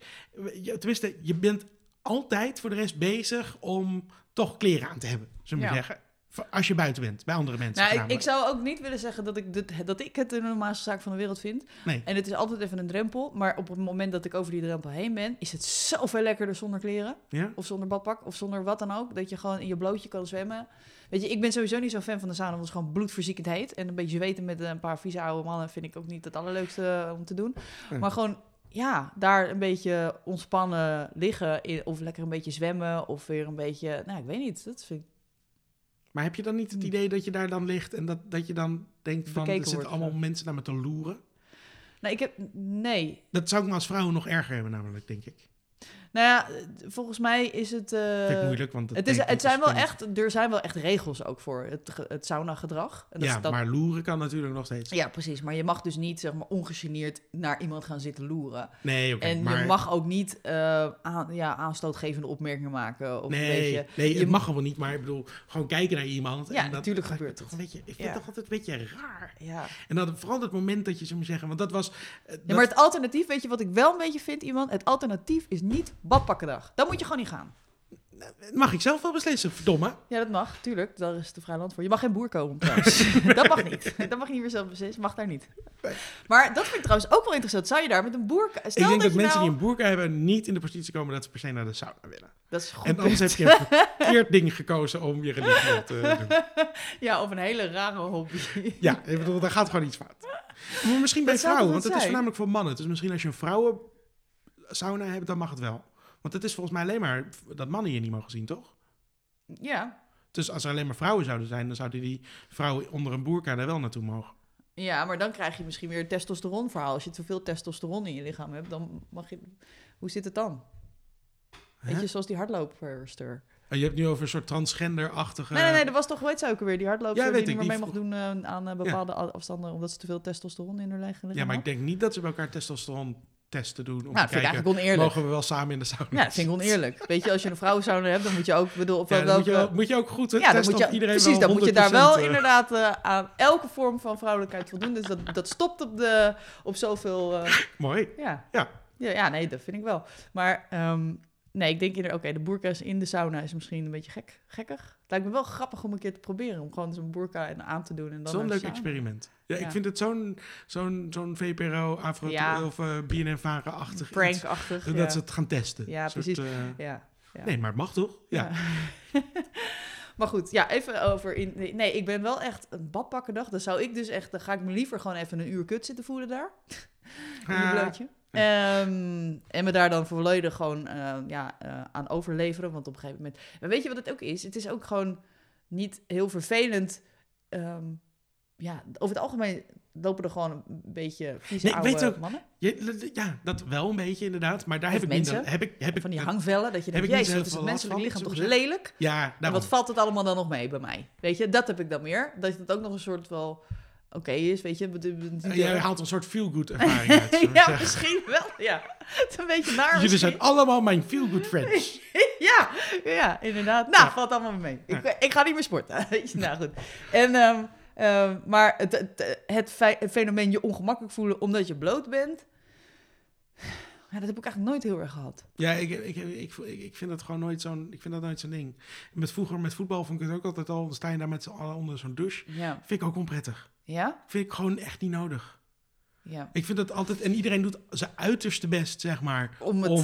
Speaker 1: Je, tenminste, je bent altijd voor de rest bezig om toch kleren aan te hebben, zullen we
Speaker 2: Ja.
Speaker 1: zeggen. Voor- Als je buiten bent, bij andere mensen.
Speaker 2: Nou, ik, ik
Speaker 1: voornamelijk.
Speaker 2: zou ook niet willen zeggen dat ik, dit, dat ik het de normaalste zaak van de wereld vind.
Speaker 1: Nee.
Speaker 2: En het is altijd even een drempel. Maar op het moment dat ik over die drempel heen ben, is het zoveel lekkerder zonder kleren.
Speaker 1: Ja?
Speaker 2: Of zonder badpak. Of zonder wat dan ook. Dat je gewoon in je blootje kan zwemmen. Weet je, ik ben sowieso niet zo'n fan van de sauna. Want het is gewoon bloedverziekend heet. En een beetje weten met een paar vieze oude mannen vind ik ook niet het allerleukste eh, om te doen.
Speaker 1: Nee.
Speaker 2: Maar gewoon, ja, daar een beetje ontspannen liggen. in- of lekker een beetje zwemmen. Of weer een beetje, nou, ik weet niet. Dat vind ik
Speaker 1: Maar heb je dan niet het idee dat je daar dan ligt en dat, dat je dan denkt van,
Speaker 2: Hmm. Bekeken
Speaker 1: er zitten
Speaker 2: wordt,
Speaker 1: allemaal
Speaker 2: ja.
Speaker 1: mensen naar me te loeren?
Speaker 2: Nou, ik heb... Nee,
Speaker 1: Dat zou ik me als vrouw nog erger hebben namelijk, denk ik.
Speaker 2: Nou ja, d- volgens mij is het. eh,
Speaker 1: Vind ik moeilijk, want dat
Speaker 2: Het, is,
Speaker 1: denk ik
Speaker 2: het zijn wel
Speaker 1: spannend.
Speaker 2: echt, er zijn wel echt regels ook voor het, ge- het sauna-gedrag. En dat is
Speaker 1: ja,
Speaker 2: dat-
Speaker 1: maar loeren kan natuurlijk nog steeds.
Speaker 2: ja, precies. Maar je mag dus niet zeg maar, ongegeneerd naar iemand gaan zitten loeren.
Speaker 1: Nee, oké.
Speaker 2: en
Speaker 1: maar...
Speaker 2: je mag ook niet eh, aan, ja, aanstootgevende opmerkingen maken. Of een
Speaker 1: Nee,
Speaker 2: beetje.
Speaker 1: nee
Speaker 2: je
Speaker 1: het
Speaker 2: mag-
Speaker 1: mag gewoon niet, maar ik bedoel, gewoon kijken naar iemand.
Speaker 2: Ja,
Speaker 1: en dat,
Speaker 2: natuurlijk
Speaker 1: dat-
Speaker 2: gebeurt
Speaker 1: dat-
Speaker 2: het.
Speaker 1: Weet je, ik vind
Speaker 2: Ja.
Speaker 1: dat altijd een beetje raar.
Speaker 2: Ja.
Speaker 1: En dan vooral dat moment dat je, zou maar zeggen, want dat was... eh, dat-
Speaker 2: Ja, maar het alternatief, weet je wat ik wel een beetje vind, iemand? Het alternatief is niet badpakkendag. Dan moet je gewoon niet gaan.
Speaker 1: Mag ik zelf wel beslissen, verdomme.
Speaker 2: Ja, dat mag, tuurlijk. Daar is het een vrij land voor. Je mag geen boer komen trouwens. dat mag niet. Dat mag je niet meer zelf beslissen. Mag daar niet. Maar dat vind ik trouwens ook wel interessant. Zou je daar met een boer... Stel
Speaker 1: ik denk dat,
Speaker 2: je
Speaker 1: mensen
Speaker 2: nou...
Speaker 1: die een boerka hebben niet in de positie komen dat ze per se naar de sauna willen.
Speaker 2: Dat is goed.
Speaker 1: En anders heb je een verkeerd ding gekozen om je religie op te doen.
Speaker 2: Ja, of een hele rare hobby.
Speaker 1: Ja, ik bedoel, daar gaat gewoon iets fout. Maar misschien bij
Speaker 2: Dat zou
Speaker 1: vrouwen, want het
Speaker 2: toch wat
Speaker 1: is
Speaker 2: zijn?
Speaker 1: voornamelijk voor mannen. Dus misschien als je een vrouwen sauna hebben, dan mag het wel. Want het is volgens mij alleen maar dat mannen hier niet mogen zien, toch?
Speaker 2: Ja.
Speaker 1: Dus als er alleen maar vrouwen zouden zijn, dan zouden die vrouwen onder een boerka daar wel naartoe mogen.
Speaker 2: ja, maar dan krijg je misschien weer het testosteronverhaal. Als je te veel testosteron in je lichaam hebt, dan mag je... Hoe zit het dan?
Speaker 1: Hè?
Speaker 2: Weet je, zoals die hardloopster.
Speaker 1: Oh, je hebt nu over een soort transgender-achtige...
Speaker 2: Nee, nee, nee, er was toch, weet ze ook weer, die hardloopster
Speaker 1: Ja, weet
Speaker 2: die
Speaker 1: ik,
Speaker 2: niet meer mee
Speaker 1: die
Speaker 2: mag doen eh, aan eh, bepaalde a- afstanden, omdat ze te veel testosteron in haar eigen lichaam
Speaker 1: Ja, maar ik
Speaker 2: had.
Speaker 1: denk niet dat ze bij elkaar testosteron testen doen. Om
Speaker 2: Nou, dat
Speaker 1: te
Speaker 2: vind ik
Speaker 1: kijken,
Speaker 2: eigenlijk oneerlijk.
Speaker 1: mogen we wel samen in de sauna
Speaker 2: Ja, dat vind ik oneerlijk. Weet je, als je een vrouwensauna hebt, dan moet je ook, ik bedoel, op
Speaker 1: Ja, dan
Speaker 2: welke-
Speaker 1: moet, je wel, moet je ook goed hè,
Speaker 2: Ja, dan
Speaker 1: testen
Speaker 2: moet je,
Speaker 1: of iedereen
Speaker 2: precies,
Speaker 1: wel
Speaker 2: dan moet je daar wel
Speaker 1: 100%, eh,
Speaker 2: inderdaad eh, aan elke vorm van vrouwelijkheid voldoen. Dus dat, dat stopt op, de, op zoveel... eh,
Speaker 1: Mooi.
Speaker 2: ja.
Speaker 1: Ja.
Speaker 2: ja. Ja, nee, dat vind ik wel. Maar ehm, nee, ik denk inderdaad, oké, de burka is in de sauna is misschien een beetje gek, gekkig. Het lijkt me wel grappig om een keer te proberen, om gewoon zo'n burka en aan te doen. en dan
Speaker 1: Zo'n
Speaker 2: naar de
Speaker 1: leuk
Speaker 2: sauna.
Speaker 1: experiment. Ja, ik
Speaker 2: Ja.
Speaker 1: vind het zo'n zo'n zo'n VPRO, Afro
Speaker 2: Ja.
Speaker 1: of eh BNN-varen-achtig iets.
Speaker 2: Prankachtig.
Speaker 1: Dat
Speaker 2: ja.
Speaker 1: ze het gaan testen.
Speaker 2: Ja,
Speaker 1: Een soort,
Speaker 2: precies.
Speaker 1: eh,
Speaker 2: Ja. ja.
Speaker 1: Nee, maar het mag toch? Ja.
Speaker 2: Ja. maar goed, ja, even over... In, nee, ik ben wel echt een badpakkendag. Dan zou ik dus echt... Dan ga ik me liever gewoon even een uur kut zitten voelen daar. in
Speaker 1: Ah,
Speaker 2: mijn blootje. Ehm, en me daar dan volledig gewoon eh, ja, eh, aan overleveren. Want op een gegeven moment... Maar weet je wat het ook is? Het is ook gewoon niet heel vervelend... ehm, ja, over het algemeen lopen er gewoon een beetje vieze
Speaker 1: Nee, ik weet
Speaker 2: oude
Speaker 1: ook-
Speaker 2: mannen.
Speaker 1: je- ja, dat wel een beetje inderdaad. Maar daar
Speaker 2: Of
Speaker 1: heb ik, minder,
Speaker 2: mensen.
Speaker 1: heb ik, heb ik
Speaker 2: Van die
Speaker 1: dat-
Speaker 2: hangvellen, dat je
Speaker 1: heb
Speaker 2: denkt...
Speaker 1: ik niet zo
Speaker 2: Jezus,
Speaker 1: heel
Speaker 2: wat is
Speaker 1: veel
Speaker 2: het
Speaker 1: last
Speaker 2: menselijk
Speaker 1: van,
Speaker 2: lichaam
Speaker 1: zullen
Speaker 2: toch
Speaker 1: we
Speaker 2: lelijk?
Speaker 1: Ja,
Speaker 2: En
Speaker 1: daarom.
Speaker 2: wat valt het allemaal dan nog mee bij mij? Weet je, dat heb ik dan meer. Dat het ook nog een soort wel oké is, weet je. bedo- bedo-
Speaker 1: Eh, jij haalt een soort feel-good ervaring uit. zullen we
Speaker 2: ja,
Speaker 1: zeggen. Dus
Speaker 2: misschien wel. Ja, het is een beetje naar
Speaker 1: Jullie zijn allemaal mijn feel-good friends.
Speaker 2: Ja, ja, inderdaad. Nou,
Speaker 1: Ja.
Speaker 2: valt allemaal mee. Ik,
Speaker 1: Ja.
Speaker 2: ik ga niet meer sporten. Weet je, nou goed. En, ehm, ehm, maar het, het, het fe- het fenomeen je ongemakkelijk voelen omdat je bloot bent... Ja, dat heb ik eigenlijk nooit heel erg gehad.
Speaker 1: Ja, ik, ik, ik, ik, ik vind dat gewoon nooit zo'n, ik vind dat nooit zo'n ding. Met vroeger met voetbal vond ik het ook altijd al. Dan sta je daar met z'n allen onder zo'n douche.
Speaker 2: Ja,
Speaker 1: Vind ik ook onprettig.
Speaker 2: ja,
Speaker 1: Vind ik gewoon echt niet nodig.
Speaker 2: ja.
Speaker 1: Ik vind dat altijd, en iedereen doet zijn uiterste best, zeg maar,
Speaker 2: Om het...
Speaker 1: om,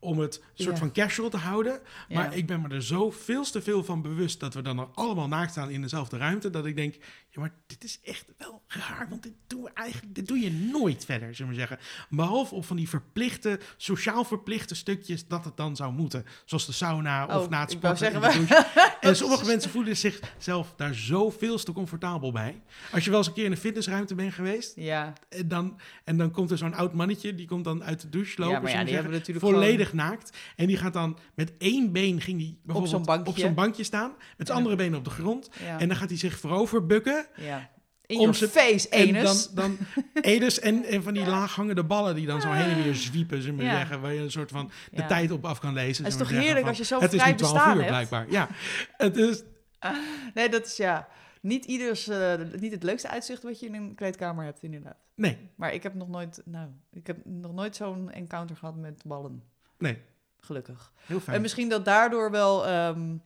Speaker 1: om het soort
Speaker 2: Ja.
Speaker 1: van casual te houden. Maar
Speaker 2: ja.
Speaker 1: ik ben me er zo veel te veel van bewust dat we dan al allemaal naakt staan in dezelfde ruimte. Dat ik denk, ja, maar dit is echt wel raar. Want dit, doen we eigenlijk, dit doe je nooit verder, zullen we zeggen. Behalve op van die verplichte, sociaal verplichte stukjes dat het dan zou moeten. Zoals de sauna of
Speaker 2: Oh,
Speaker 1: na het
Speaker 2: ik wou
Speaker 1: sporten. in
Speaker 2: zeggen,
Speaker 1: de douche. en sommige mensen voelen zichzelf daar zoveel te comfortabel bij. Als je wel eens een keer in een fitnessruimte bent geweest,
Speaker 2: Ja,
Speaker 1: en dan, en dan komt er zo'n oud mannetje, die komt dan uit de douche lopen.
Speaker 2: ja, maar ja,
Speaker 1: zullen we
Speaker 2: die hebben
Speaker 1: zeggen,
Speaker 2: natuurlijk gewoon-
Speaker 1: volledig naakt. En die gaat dan met één been ging die bijvoorbeeld
Speaker 2: zo'n bankje.
Speaker 1: op zo'n bankje staan. Met zijn
Speaker 2: En-
Speaker 1: andere been op de grond.
Speaker 2: Ja.
Speaker 1: En dan gaat hij zich voorover bukken.
Speaker 2: ja. In
Speaker 1: Om
Speaker 2: your
Speaker 1: ze-
Speaker 2: face,
Speaker 1: En
Speaker 2: anus.
Speaker 1: dan, dan enus en, en van die laaghangende ballen die dan zo heen en weer zwiepen. Zullen we
Speaker 2: Ja.
Speaker 1: zeggen, waar je een soort van de
Speaker 2: Ja.
Speaker 1: tijd op af kan lezen.
Speaker 2: Het is
Speaker 1: zullen we
Speaker 2: toch
Speaker 1: zeggen,
Speaker 2: heerlijk
Speaker 1: van,
Speaker 2: als je zo
Speaker 1: Het is
Speaker 2: vrij
Speaker 1: nu 12
Speaker 2: bestaan
Speaker 1: uur
Speaker 2: hebt?
Speaker 1: blijkbaar. Ja, het is...
Speaker 2: Nee, dat is ja. Niet, ieders, eh, niet het leukste uitzicht wat je in een kleedkamer hebt, inderdaad.
Speaker 1: Nee,
Speaker 2: Maar ik heb nog nooit, nou, ik heb nog nooit zo'n encounter gehad met ballen.
Speaker 1: nee,
Speaker 2: Gelukkig.
Speaker 1: heel
Speaker 2: En
Speaker 1: fijn.
Speaker 2: misschien dat daardoor wel, ehm,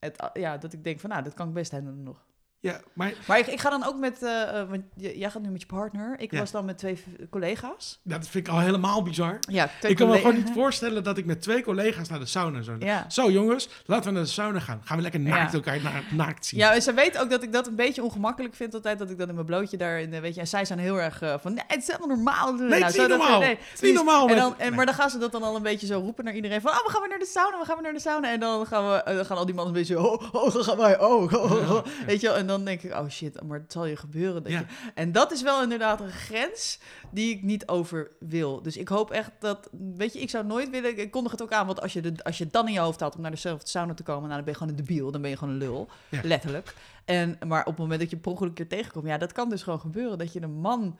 Speaker 2: het, a- ja, dat ik denk van, nou, dat kan ik best hebben nog.
Speaker 1: Ja, maar
Speaker 2: Maar ik, ik ga dan ook met, eh, eh, want j- jij gaat nu met je partner. Ik
Speaker 1: Ja.
Speaker 2: was dan met twee v- collega's.
Speaker 1: dat vind ik al helemaal bizar.
Speaker 2: Ja, twee
Speaker 1: ik kan me
Speaker 2: collega-
Speaker 1: gewoon niet voorstellen dat ik met twee collega's naar de sauna zou
Speaker 2: Ja.
Speaker 1: Zo jongens, laten we naar de sauna gaan. Gaan we lekker naakt
Speaker 2: Ja.
Speaker 1: elkaar na- naakt zien.
Speaker 2: Ja, en ze weet ook dat ik dat een beetje ongemakkelijk vind altijd, dat ik dan in mijn blootje daar, in, de- weet je, en zij zijn heel erg eh, van, nee, het is helemaal normaal. Nou,
Speaker 1: Nee, het is niet normaal. Het is niet normaal.
Speaker 2: En
Speaker 1: met-
Speaker 2: dan, en, maar dan gaan ze dat dan al een beetje zo roepen naar iedereen van, oh, we gaan weer naar de sauna, we gaan weer naar de sauna. En dan gaan, we, eh, dan gaan al die mannen een beetje, oh, oh, dan gaan wij, oh, oh, oh, oh. Weet je wel, en dan denk ik, oh shit, maar het zal je gebeuren. Dat
Speaker 1: Ja.
Speaker 2: je... En dat is wel inderdaad een grens die ik niet over wil. Dus ik hoop echt dat, weet je, ik zou nooit willen, ik kondig het ook aan, want als je, de, als je het dan in je hoofd had om naar dezelfde sauna te komen, nou, dan ben je gewoon een debiel, dan ben je gewoon een lul,
Speaker 1: Ja.
Speaker 2: letterlijk. En, maar op het moment dat je per ongeluk een keer tegenkomt, ja, dat kan dus gewoon gebeuren, dat je een man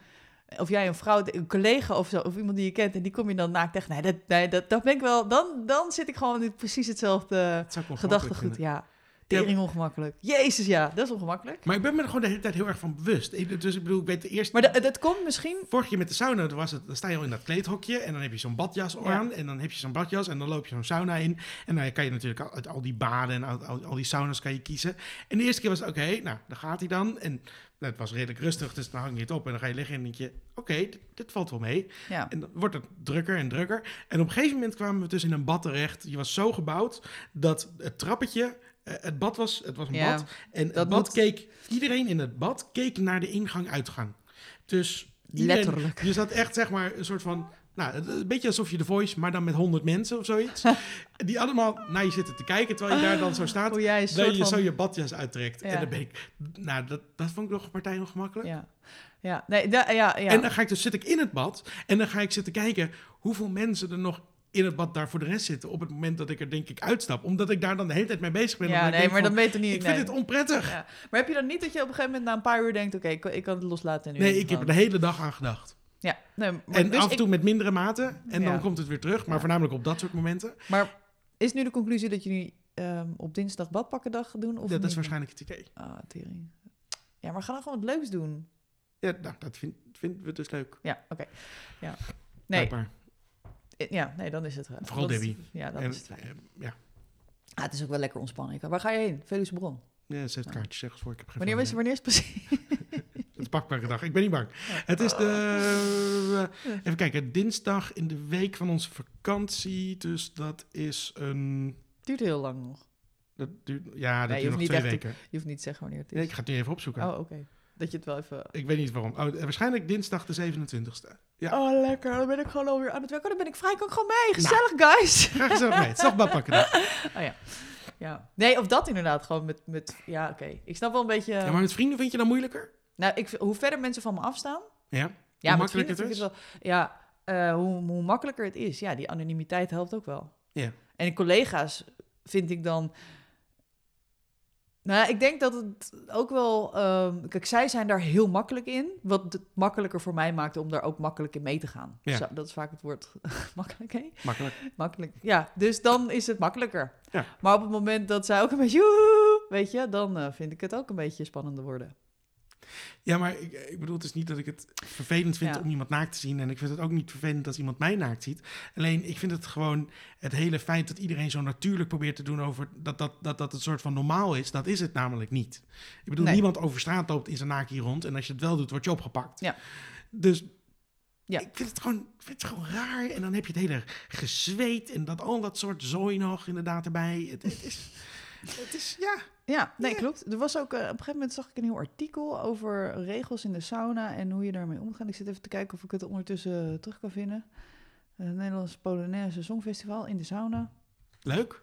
Speaker 2: of jij een vrouw, een collega of zo, of iemand die je kent, en die kom je dan naakt tegen. Nee, dat, nee, dat, dat ben ik wel. Dan, dan zit ik gewoon in precies hetzelfde
Speaker 1: Het zou ik ongemakkelijk
Speaker 2: gedachtegoed.
Speaker 1: vinden.
Speaker 2: Ja, tering ongemakkelijk. Jezus, ja, dat is ongemakkelijk.
Speaker 1: Maar ik ben me er gewoon de hele tijd heel erg van bewust. Ik- Dus ik bedoel, ik weet de eerste...
Speaker 2: Maar dat, dat komt misschien.
Speaker 1: Vorig keer met de sauna, toen was het, dan sta je al in dat kleedhokje en dan heb je zo'n badjas aan en dan heb je zo'n badjas en dan loop je zo'n sauna in. En dan kan je natuurlijk al- uit al die baden en al, al, al die saunas kan je kiezen. En de eerste keer was het, oké, nou, daar gaat hij dan. En nou, het was redelijk rustig, dus dan hang je het op en dan ga je liggen en denk je, oké, dit, dit valt wel mee.
Speaker 2: Ja,
Speaker 1: En dan wordt het drukker en drukker. En op een gegeven moment kwamen we dus in een bad terecht. Die was zo gebouwd dat het trappetje, eh, het bad was, het was een
Speaker 2: Ja,
Speaker 1: bad. En het
Speaker 2: dat
Speaker 1: bad
Speaker 2: moet-
Speaker 1: keek, iedereen in het bad keek naar de ingang-uitgang. Dus iedereen-
Speaker 2: letterlijk.
Speaker 1: je zat echt zeg maar een soort van Nou, het- een beetje alsof je de voice, maar dan met honderd mensen of zoiets. die allemaal naar je zitten te kijken terwijl je daar dan zo staat.
Speaker 2: Hoe jij Oh een soort
Speaker 1: Dat je
Speaker 2: van-
Speaker 1: zo je badjas uittrekt.
Speaker 2: Ja.
Speaker 1: En dan ben ik... Nou, dat, dat vond ik nog een partij ongemakkelijk.
Speaker 2: Ja, ja. Nee, da- ja, ja.
Speaker 1: En dan ga ik dus, zit ik in het bad en dan ga ik zitten kijken hoeveel mensen er nog in het bad daar voor de rest zitten. Op het moment dat ik er denk ik uitstap. Omdat ik daar dan de hele tijd mee bezig ben.
Speaker 2: Ja,
Speaker 1: Omdat ik
Speaker 2: nee,
Speaker 1: denk
Speaker 2: maar
Speaker 1: van,
Speaker 2: dat weet je niet.
Speaker 1: Ik vind
Speaker 2: nee.
Speaker 1: dit onprettig.
Speaker 2: Ja. Maar heb je dan niet dat je op een gegeven moment na een paar uur denkt... oké, ik, ik kan het loslaten en nu
Speaker 1: Nee,
Speaker 2: even
Speaker 1: ik heb er de
Speaker 2: gewoon-
Speaker 1: hele dag aan gedacht.
Speaker 2: Ja, nee, maar,
Speaker 1: En
Speaker 2: dus
Speaker 1: af en toe
Speaker 2: ik-
Speaker 1: met mindere mate. En
Speaker 2: Ja.
Speaker 1: dan komt het weer terug. Maar
Speaker 2: Ja.
Speaker 1: voornamelijk op dat soort momenten.
Speaker 2: maar is nu de conclusie dat jullie ehm, op dinsdag badpakkendag gaan doen? Of
Speaker 1: dat
Speaker 2: niet?
Speaker 1: is waarschijnlijk het idee.
Speaker 2: Ah, tering. Ja, maar ga dan gewoon wat leuks doen.
Speaker 1: Ja, nou, dat vind- vinden we dus leuk.
Speaker 2: Ja, oké. Ja. Nee,
Speaker 1: blijkbaar.
Speaker 2: eh, ja, nee, dan is het. eh,
Speaker 1: Vooral
Speaker 2: dat is-
Speaker 1: Debbie.
Speaker 2: Ja, dat
Speaker 1: En,
Speaker 2: is het. fijn.
Speaker 1: eh, ja.
Speaker 2: Ah, het is ook wel lekker ontspannen. Ik- Waar ga je heen? Veluwe Bron.
Speaker 1: ja, ze heeft kaartjes ergens voor. Ik heb geen flauw
Speaker 2: Wanneer, is, wanneer is het precies?
Speaker 1: idee. Het is pakbare dag. Ik ben niet bang. Het is de...
Speaker 2: Oh.
Speaker 1: eh, even kijken. Dinsdag in de week van onze vakantie. Dus dat is een...
Speaker 2: Duurt heel lang nog.
Speaker 1: Dat duurt, ja, dat
Speaker 2: Nee, je
Speaker 1: duurt
Speaker 2: hoeft
Speaker 1: nog
Speaker 2: niet
Speaker 1: twee
Speaker 2: echt te-
Speaker 1: weken.
Speaker 2: Je hoeft niet te zeggen wanneer het is.
Speaker 1: Nee, ik ga het nu even opzoeken.
Speaker 2: Oh, oké. Dat je het wel even...
Speaker 1: Ik weet niet waarom. Oh, eh, waarschijnlijk dinsdag de 27e. Ja. Nou.
Speaker 2: Oh, lekker. Dan ben ik gewoon alweer aan het werk. Oh, dan ben ik vrij. Kan ik gewoon mee. Gezellig, guys.
Speaker 1: Graag gezellig mee. Het is toch badpakkendag.
Speaker 2: Oh ja. ja. Nee, of dat inderdaad. Gewoon met... met ja, oké. Ik snap wel een beetje...
Speaker 1: Ja, maar met vrienden vind je dan moeilijker?
Speaker 2: Nou, ik, vind- hoe verder mensen van me afstaan...
Speaker 1: Ja. Hoe
Speaker 2: Ja, met
Speaker 1: makkelijker
Speaker 2: vrienden
Speaker 1: het
Speaker 2: vind ik wel- ja, eh, hoe, hoe makkelijker het is. Ja, die anonimiteit helpt ook wel.
Speaker 1: Ja.
Speaker 2: En collega's vind ik dan... Nou, ik denk dat het ook wel... ehm, kijk, zij zijn daar heel makkelijk in. Wat het makkelijker voor mij maakte om daar ook makkelijk in mee te gaan.
Speaker 1: Ja.
Speaker 2: Zo, dat is vaak het woord makkelijk, hè?
Speaker 1: Makkelijk.
Speaker 2: Makkelijk. Ja, dus dan is het makkelijker.
Speaker 1: Ja.
Speaker 2: Maar op het moment dat zij ook een beetje... "Joehoe", Weet je, dan eh, vind ik het ook een beetje spannender worden.
Speaker 1: Ja, maar ik, ik bedoel, het is niet dat ik het vervelend vind
Speaker 2: Ja.
Speaker 1: om iemand naakt te zien. En ik vind het ook niet vervelend als iemand mij naakt ziet. Alleen, ik vind het gewoon het hele feit dat iedereen zo natuurlijk probeert te doen over dat dat, dat, dat het soort van normaal is. Dat is het namelijk niet. Ik bedoel,
Speaker 2: Nee.
Speaker 1: niemand over straat loopt in zijn naak hier rond. En als je het wel doet, word je opgepakt.
Speaker 2: Ja.
Speaker 1: Dus
Speaker 2: Ja.
Speaker 1: ik vind het, gewoon, ik vind het gewoon raar. En dan heb je het hele gezweet en dat, al dat soort zooi nog inderdaad erbij. Het, het is, het is, ja.
Speaker 2: Ja, nee,
Speaker 1: Ja.
Speaker 2: klopt. Er was ook, eh, op een gegeven moment zag ik een heel artikel over regels in de sauna en hoe je daarmee omgaat. Ik zit even te kijken of ik het ondertussen eh, terug kan vinden. Eh, Het Nederlands Polonaise Songfestival in de sauna.
Speaker 1: Leuk.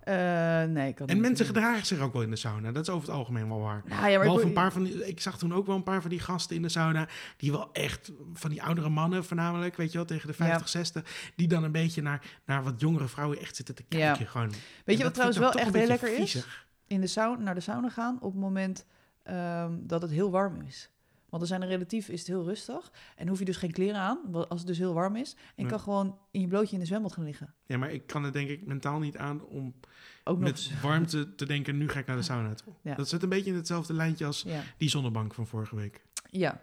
Speaker 2: Eh, nee, ik kan
Speaker 1: En
Speaker 2: niet
Speaker 1: mensen
Speaker 2: vinden.
Speaker 1: gedragen zich ook wel in de sauna. Dat is over het algemeen wel waar.
Speaker 2: Nou, ja, maar ik
Speaker 1: Behalve een
Speaker 2: bedoel-
Speaker 1: paar van die, ik zag toen ook wel een paar van die gasten in de sauna. Die wel echt van die oudere mannen, voornamelijk, weet je wel, tegen de 50, 60. Die dan een beetje naar, naar wat jongere vrouwen echt zitten te
Speaker 2: Ja.
Speaker 1: kijken. Gewoon.
Speaker 2: Weet je wat trouwens wel echt heel lekker is?
Speaker 1: is?
Speaker 2: In de sauna, naar de sauna gaan op het moment ehm, dat het heel warm is. Want dan zijn er relatief is het heel rustig en hoef je dus geen kleren aan, wa- als het dus heel warm is. En je
Speaker 1: Nee.
Speaker 2: kan gewoon in je blootje in de zwembad gaan liggen.
Speaker 1: Ja, maar ik kan het denk ik mentaal niet aan om
Speaker 2: Ook nog eens.
Speaker 1: met warmte te denken, nu ga ik naar de sauna toe.
Speaker 2: Ja.
Speaker 1: Dat zit een beetje in hetzelfde lijntje als
Speaker 2: Ja.
Speaker 1: die zonnebank van vorige week.
Speaker 2: ja.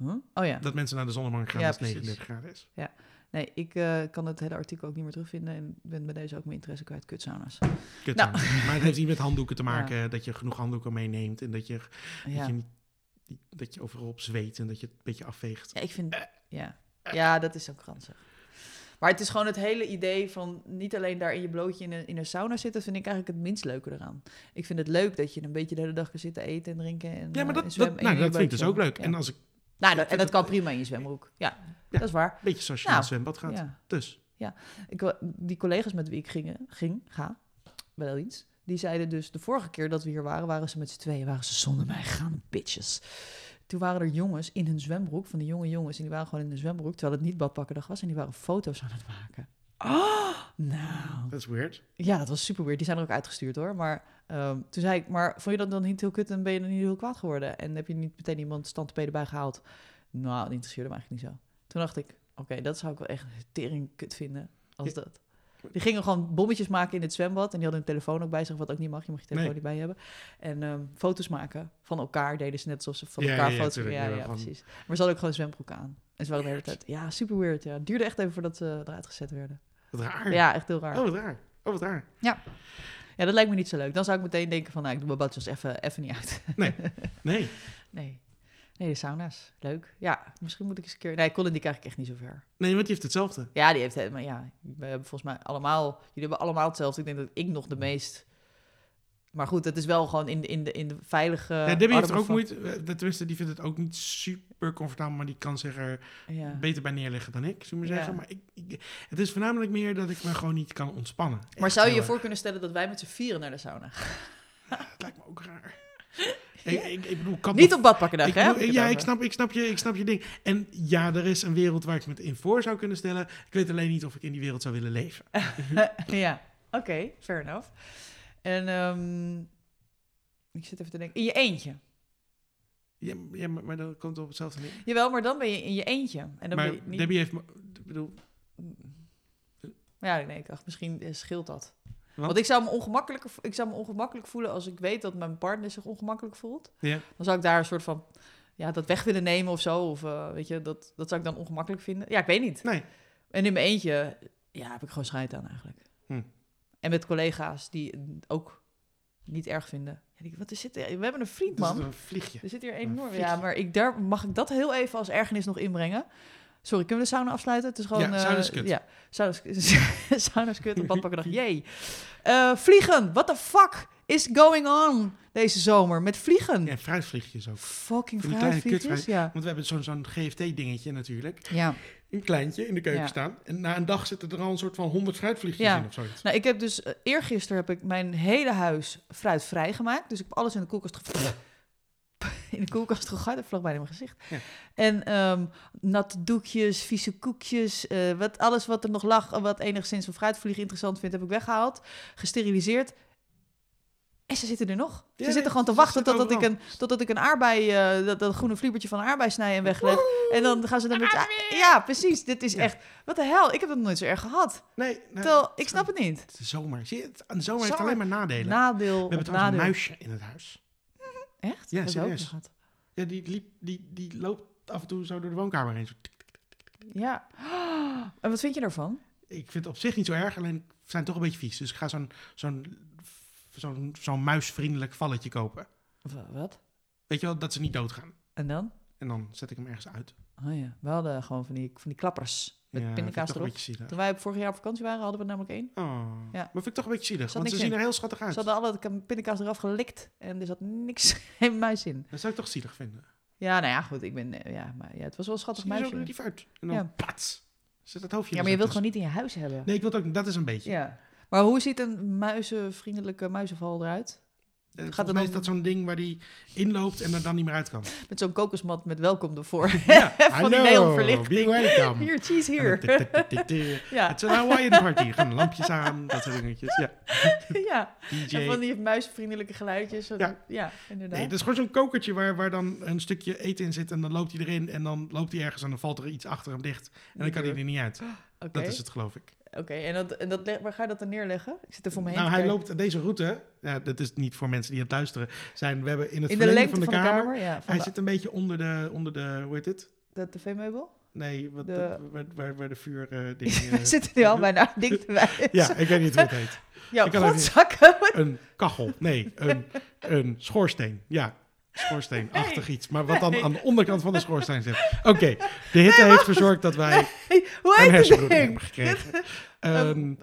Speaker 2: Huh? Oh ja.
Speaker 1: Dat mensen naar de zonnebank gaan
Speaker 2: Ja,
Speaker 1: als het
Speaker 2: precies.
Speaker 1: 39 graden is.
Speaker 2: Nee, ik eh, kan het hele artikel ook niet meer terugvinden en ben bij deze ook mijn interesse kwijt. Kutsauna's.
Speaker 1: Kut
Speaker 2: Nou.
Speaker 1: sauna. Maar het heeft niet met handdoeken te maken, dat je genoeg handdoeken meeneemt en dat je Dat
Speaker 2: Ja.
Speaker 1: je, niet, niet- dat je overal op zweet en dat je het een beetje afveegt.
Speaker 2: ja, ik vind... Ja. ja, dat is ook ranzig. Maar het is gewoon het hele idee van niet alleen daar in je blootje in een, in een sauna zitten, vind ik eigenlijk het minst leuke eraan. Ik vind het leuk dat je een beetje de hele dag kan zitten eten en drinken en
Speaker 1: Ja, maar
Speaker 2: eh,
Speaker 1: dat,
Speaker 2: en
Speaker 1: dat,
Speaker 2: zwemmen en
Speaker 1: nou,
Speaker 2: in je
Speaker 1: dat vind ik dus
Speaker 2: blootje.
Speaker 1: ook leuk.
Speaker 2: Ja.
Speaker 1: En als ik een
Speaker 2: Nou,
Speaker 1: ik
Speaker 2: dat, en
Speaker 1: vind
Speaker 2: dat
Speaker 1: dat-
Speaker 2: kan prima in je zwembroek. Ja,
Speaker 1: Ja.
Speaker 2: dat is waar.
Speaker 1: beetje zoals je
Speaker 2: Nou,
Speaker 1: naar het zwembad gaat.
Speaker 2: Ja.
Speaker 1: Dus,
Speaker 2: Ik, wa- die collega's met wie ik ging, ging ga, wel eens, die zeiden dus de vorige keer dat we hier waren, waren ze met z'n tweeën, waren ze zonder mij gaan, bitches. Toen waren er jongens in hun zwembroek, van die jonge jongens, en die waren gewoon in hun zwembroek, terwijl het niet badpakkendag was, en die waren foto's aan het maken. Oh, nou.
Speaker 1: dat is weird.
Speaker 2: Ja, dat was super weird. Die zijn er ook uitgestuurd hoor. Maar ehm, toen zei ik, maar vond je dat dan niet heel kut en ben je dan niet heel kwaad geworden? En heb je niet meteen iemand stand erbij bij gehaald? Nou, dat interesseerde me eigenlijk niet zo. Toen dacht ik, oké, dat zou ik wel echt tering kut vinden als
Speaker 1: Ja.
Speaker 2: dat. Die gingen gewoon bommetjes maken in het zwembad. En die hadden hun telefoon ook bij zich, wat ook niet mag. Je mag je telefoon
Speaker 1: Nee.
Speaker 2: niet bij je hebben. En ehm, foto's maken van elkaar. Deden ze net alsof ze van
Speaker 1: Ja,
Speaker 2: elkaar
Speaker 1: ja, ja,
Speaker 2: foto's
Speaker 1: tuurlijk.
Speaker 2: Ja,
Speaker 1: Ja,
Speaker 2: ja,
Speaker 1: van-
Speaker 2: precies. Maar ze hadden ook gewoon zwembroek aan. En ze waren de hele tijd... Ja, super weird. Ja. Het duurde echt even voordat ze eruit gezet werden.
Speaker 1: Wat raar.
Speaker 2: Ja, echt heel raar.
Speaker 1: Oh, wat raar. Oh, wat raar.
Speaker 2: Ja, dat lijkt me niet zo leuk. Dan zou ik meteen denken van, nou, ik doe mijn badjas even, even niet uit.
Speaker 1: Nee.
Speaker 2: Nee. Nee, de sauna's. Leuk. Ja, misschien moet ik eens een keer... Nee, Colin, die krijg ik echt niet zo ver.
Speaker 1: nee, want je heeft hetzelfde.
Speaker 2: Ja, die heeft... het- Maar ja, we hebben volgens mij allemaal... Jullie hebben allemaal hetzelfde. Ik denk dat ik nog de meest... Maar goed, het is wel gewoon in de, in de, in de veilige.
Speaker 1: Ja, Debbie heeft
Speaker 2: armen
Speaker 1: er ook
Speaker 2: van-
Speaker 1: moeite. eh, de- Tenminste, die vindt het ook niet super comfortabel. Maar die kan zich er
Speaker 2: Ja.
Speaker 1: beter bij neerleggen dan ik, zullen we maar
Speaker 2: Ja.
Speaker 1: zeggen. Maar ik, ik- het is voornamelijk meer dat ik me gewoon niet kan ontspannen.
Speaker 2: Maar
Speaker 1: Echt
Speaker 2: zou je
Speaker 1: heel
Speaker 2: je
Speaker 1: erg.
Speaker 2: voor kunnen stellen dat wij met z'n vieren naar de sauna gaan?
Speaker 1: Het lijkt me ook raar. ik, ik, ik bedoel, kan
Speaker 2: Niet op badpakkendag,
Speaker 1: ik
Speaker 2: hè?
Speaker 1: bedoel,
Speaker 2: heb
Speaker 1: ja,
Speaker 2: het
Speaker 1: ik
Speaker 2: over.
Speaker 1: snap, ik, snap je, ik snap je ding. En ja, er is een wereld waar ik me het in voor zou kunnen stellen. Ik weet alleen niet of ik in die wereld zou willen leven.
Speaker 2: ja, oké, fair enough. En ehm, ik zit even te denken, in je eentje.
Speaker 1: Ja, m- ja maar, maar dat komt op hetzelfde neer.
Speaker 2: Jawel, maar dan ben je in je eentje. En dan
Speaker 1: maar
Speaker 2: ben je niet...
Speaker 1: Debbie heeft... me- Ik bedoel,
Speaker 2: Ja, nee, ik dacht, misschien eh, scheelt dat.
Speaker 1: Want?
Speaker 2: Want, ik, zou me ongemakkelijker, vo- ik zou me ongemakkelijk voelen als ik weet dat mijn partner zich ongemakkelijk voelt.
Speaker 1: Ja.
Speaker 2: Dan zou ik daar een soort van, ja, dat weg willen nemen of zo. Of eh, weet je, dat, dat zou ik dan ongemakkelijk vinden. Ja, ik weet niet.
Speaker 1: nee.
Speaker 2: En in mijn eentje, ja, heb ik gewoon scheid aan eigenlijk.
Speaker 1: Hm.
Speaker 2: En met collega's die het ook niet erg vinden. Ja, die- wat is dit? We hebben een vriend,
Speaker 1: Dat
Speaker 2: man.
Speaker 1: is een vliegje.
Speaker 2: Er zit hier
Speaker 1: een
Speaker 2: enorm.
Speaker 1: fietsje.
Speaker 2: Ja, maar ik, daar, mag ik dat heel even als ergernis nog inbrengen? Sorry, kunnen we de sauna afsluiten? Het is gewoon.
Speaker 1: Ja,
Speaker 2: eh,
Speaker 1: sauna is kut.
Speaker 2: Ja, sauna is kut. sauna is kut. Een badpakken dag. Jee. Eh, vliegen. What the fuck is going on deze zomer met vliegen?
Speaker 1: Ja, fruitvliegjes ook.
Speaker 2: Fucking
Speaker 1: Van die kleine
Speaker 2: fruitvliegjes.
Speaker 1: kutvri-
Speaker 2: Ja.
Speaker 1: Want we hebben zo'n zo'n GFT-dingetje natuurlijk.
Speaker 2: ja.
Speaker 1: Een kleintje in de keuken
Speaker 2: Ja.
Speaker 1: staan. En na een dag zitten er al een soort van honderd fruitvliegjes
Speaker 2: Ja.
Speaker 1: in of zoiets.
Speaker 2: Nou, ik heb dus eh, eergisteren heb ik mijn hele huis fruitvrij gemaakt. Dus ik heb alles in de koelkast ge- in de koelkast gegooid. Dat vloog bijna in mijn gezicht.
Speaker 1: Ja.
Speaker 2: En ehm natte doekjes, vieze koekjes, eh, wat, alles wat er nog lag en wat enigszins een fruitvlieg interessant vindt, heb ik weggehaald, gesteriliseerd. En ze zitten er nog.
Speaker 1: Ja,
Speaker 2: ze
Speaker 1: nee,
Speaker 2: zitten gewoon te
Speaker 1: ze
Speaker 2: wachten
Speaker 1: zitten
Speaker 2: totdat ik, een, totdat ik een aardbei, eh, dat, dat groene vliebertje van een aardbei snij en wegleg. En dan gaan ze dan met... Ja, precies. Dit is
Speaker 1: Ja. Nou,
Speaker 2: echt... Wat de hel? Ik heb dat nooit zo erg gehad.
Speaker 1: Nee, nee.
Speaker 2: Terwijl, ik snap het niet.
Speaker 1: Het is zomer. Zie je, het, een zomer heeft
Speaker 2: Zomer.
Speaker 1: alleen maar nadelen.
Speaker 2: Nadeel.
Speaker 1: we hebben
Speaker 2: op
Speaker 1: trouwens
Speaker 2: nadeel.
Speaker 1: een muisje in het huis.
Speaker 2: Echt?
Speaker 1: Ja,
Speaker 2: Hebben we ook
Speaker 1: serieus.
Speaker 2: nog gehad.
Speaker 1: Ja, die, liep, die, die loopt af en toe zo door de woonkamer heen. Zo tik, tik, tik.
Speaker 2: Ja. En wat vind je daarvan?
Speaker 1: Ik vind het op zich niet zo erg, alleen ze zijn toch een beetje vies. Dus ik ga zo'n zo'n zo'n zo'n muisvriendelijk valletje kopen.
Speaker 2: Wa- eh, Wat?
Speaker 1: Weet je wel, dat ze niet doodgaan.
Speaker 2: En dan?
Speaker 1: En dan zet ik hem ergens uit.
Speaker 2: Oh ja, we hadden gewoon van die, van die klappers met
Speaker 1: Ja, vind
Speaker 2: pindakaas
Speaker 1: ik toch een
Speaker 2: erop.
Speaker 1: beetje zielig.
Speaker 2: Toen wij vorig jaar op vakantie waren, hadden we er namelijk één.
Speaker 1: Oh,
Speaker 2: Ja.
Speaker 1: Maar vind ik toch een beetje zielig,
Speaker 2: Zat
Speaker 1: want ze
Speaker 2: niks
Speaker 1: zien
Speaker 2: in.
Speaker 1: er heel schattig uit.
Speaker 2: Ze hadden alle k- pindakaas eraf gelikt en er zat niks, geen muis in.
Speaker 1: Dat zou ik toch zielig vinden.
Speaker 2: Ja, nou ja, goed, ik ben, eh, ja, maar ja, het was wel een
Speaker 1: Ze
Speaker 2: schattig
Speaker 1: zien er zo
Speaker 2: muisje.
Speaker 1: lief uit. En dan
Speaker 2: Ja.
Speaker 1: plats, zet het hoofdje
Speaker 2: Ja, maar
Speaker 1: er
Speaker 2: je
Speaker 1: zo tussen.
Speaker 2: wilt gewoon niet in je huis hebben.
Speaker 1: Nee, ik wil het ook niet. Dat is een beetje. Eh,
Speaker 2: Ja. Maar hoe ziet een muizenvriendelijke muizenval eruit?
Speaker 1: Eh,
Speaker 2: Gaat
Speaker 1: volgens
Speaker 2: er
Speaker 1: mij
Speaker 2: dan-
Speaker 1: is dat zo'n ding waar die inloopt en er dan niet meer uit kan.
Speaker 2: Met zo'n kokosmat met welkom ervoor.
Speaker 1: Ja,
Speaker 2: Van die
Speaker 1: be
Speaker 2: neonverlichting.
Speaker 1: welcome.
Speaker 2: Hier, cheese
Speaker 1: En dan
Speaker 2: hier.
Speaker 1: tik, tik, tik, tik, tik.
Speaker 2: Ja.
Speaker 1: Het is een Hawaiian party. Gaan lampjes aan, dat soort dingetjes. Ja,
Speaker 2: ja.
Speaker 1: DJ.
Speaker 2: En van die muisvriendelijke geluidjes. en-
Speaker 1: Ja.
Speaker 2: Ja, inderdaad.
Speaker 1: Nee, het is gewoon zo'n kokertje waar, waar dan een stukje eten in zit en dan loopt hij erin en dan loopt hij ergens en dan valt er iets achter hem dicht en dan kan hij er niet uit.
Speaker 2: Oké,
Speaker 1: Dat is het, geloof ik.
Speaker 2: oké. en, dat, en dat leg- waar ga je dat dan neerleggen? Ik zit er voor me heen
Speaker 1: Nou,
Speaker 2: te
Speaker 1: hij
Speaker 2: kijken.
Speaker 1: loopt deze route, ja, dat is niet voor mensen die aan het luisteren zijn, we hebben in het
Speaker 2: in de
Speaker 1: verlengde
Speaker 2: lengte van de, kamer. Ja, van
Speaker 1: Hij
Speaker 2: de,
Speaker 1: zit een beetje onder de, onder de hoe heet het?
Speaker 2: dat tv-meubel.
Speaker 1: Nee, wat,
Speaker 2: De-
Speaker 1: dat- waar, waar, waar de vuur eh
Speaker 2: We
Speaker 1: ding, eh,
Speaker 2: zitten nu al bijna dik te wijzen.
Speaker 1: Ja, ik weet niet hoe het heet.
Speaker 2: ja
Speaker 1: ik kan ook niet.
Speaker 2: godzakken.
Speaker 1: Een kachel. Nee, een, een schoorsteen. Ja, schoorsteenachtig iets. Maar wat dan aan de onderkant van de schoorsteen zit. Oké, de hitte heeft verzorgd dat wij
Speaker 2: Hoe
Speaker 1: een
Speaker 2: heet het
Speaker 1: hersenbloeding hebben
Speaker 2: ding?
Speaker 1: gekregen. Ehm,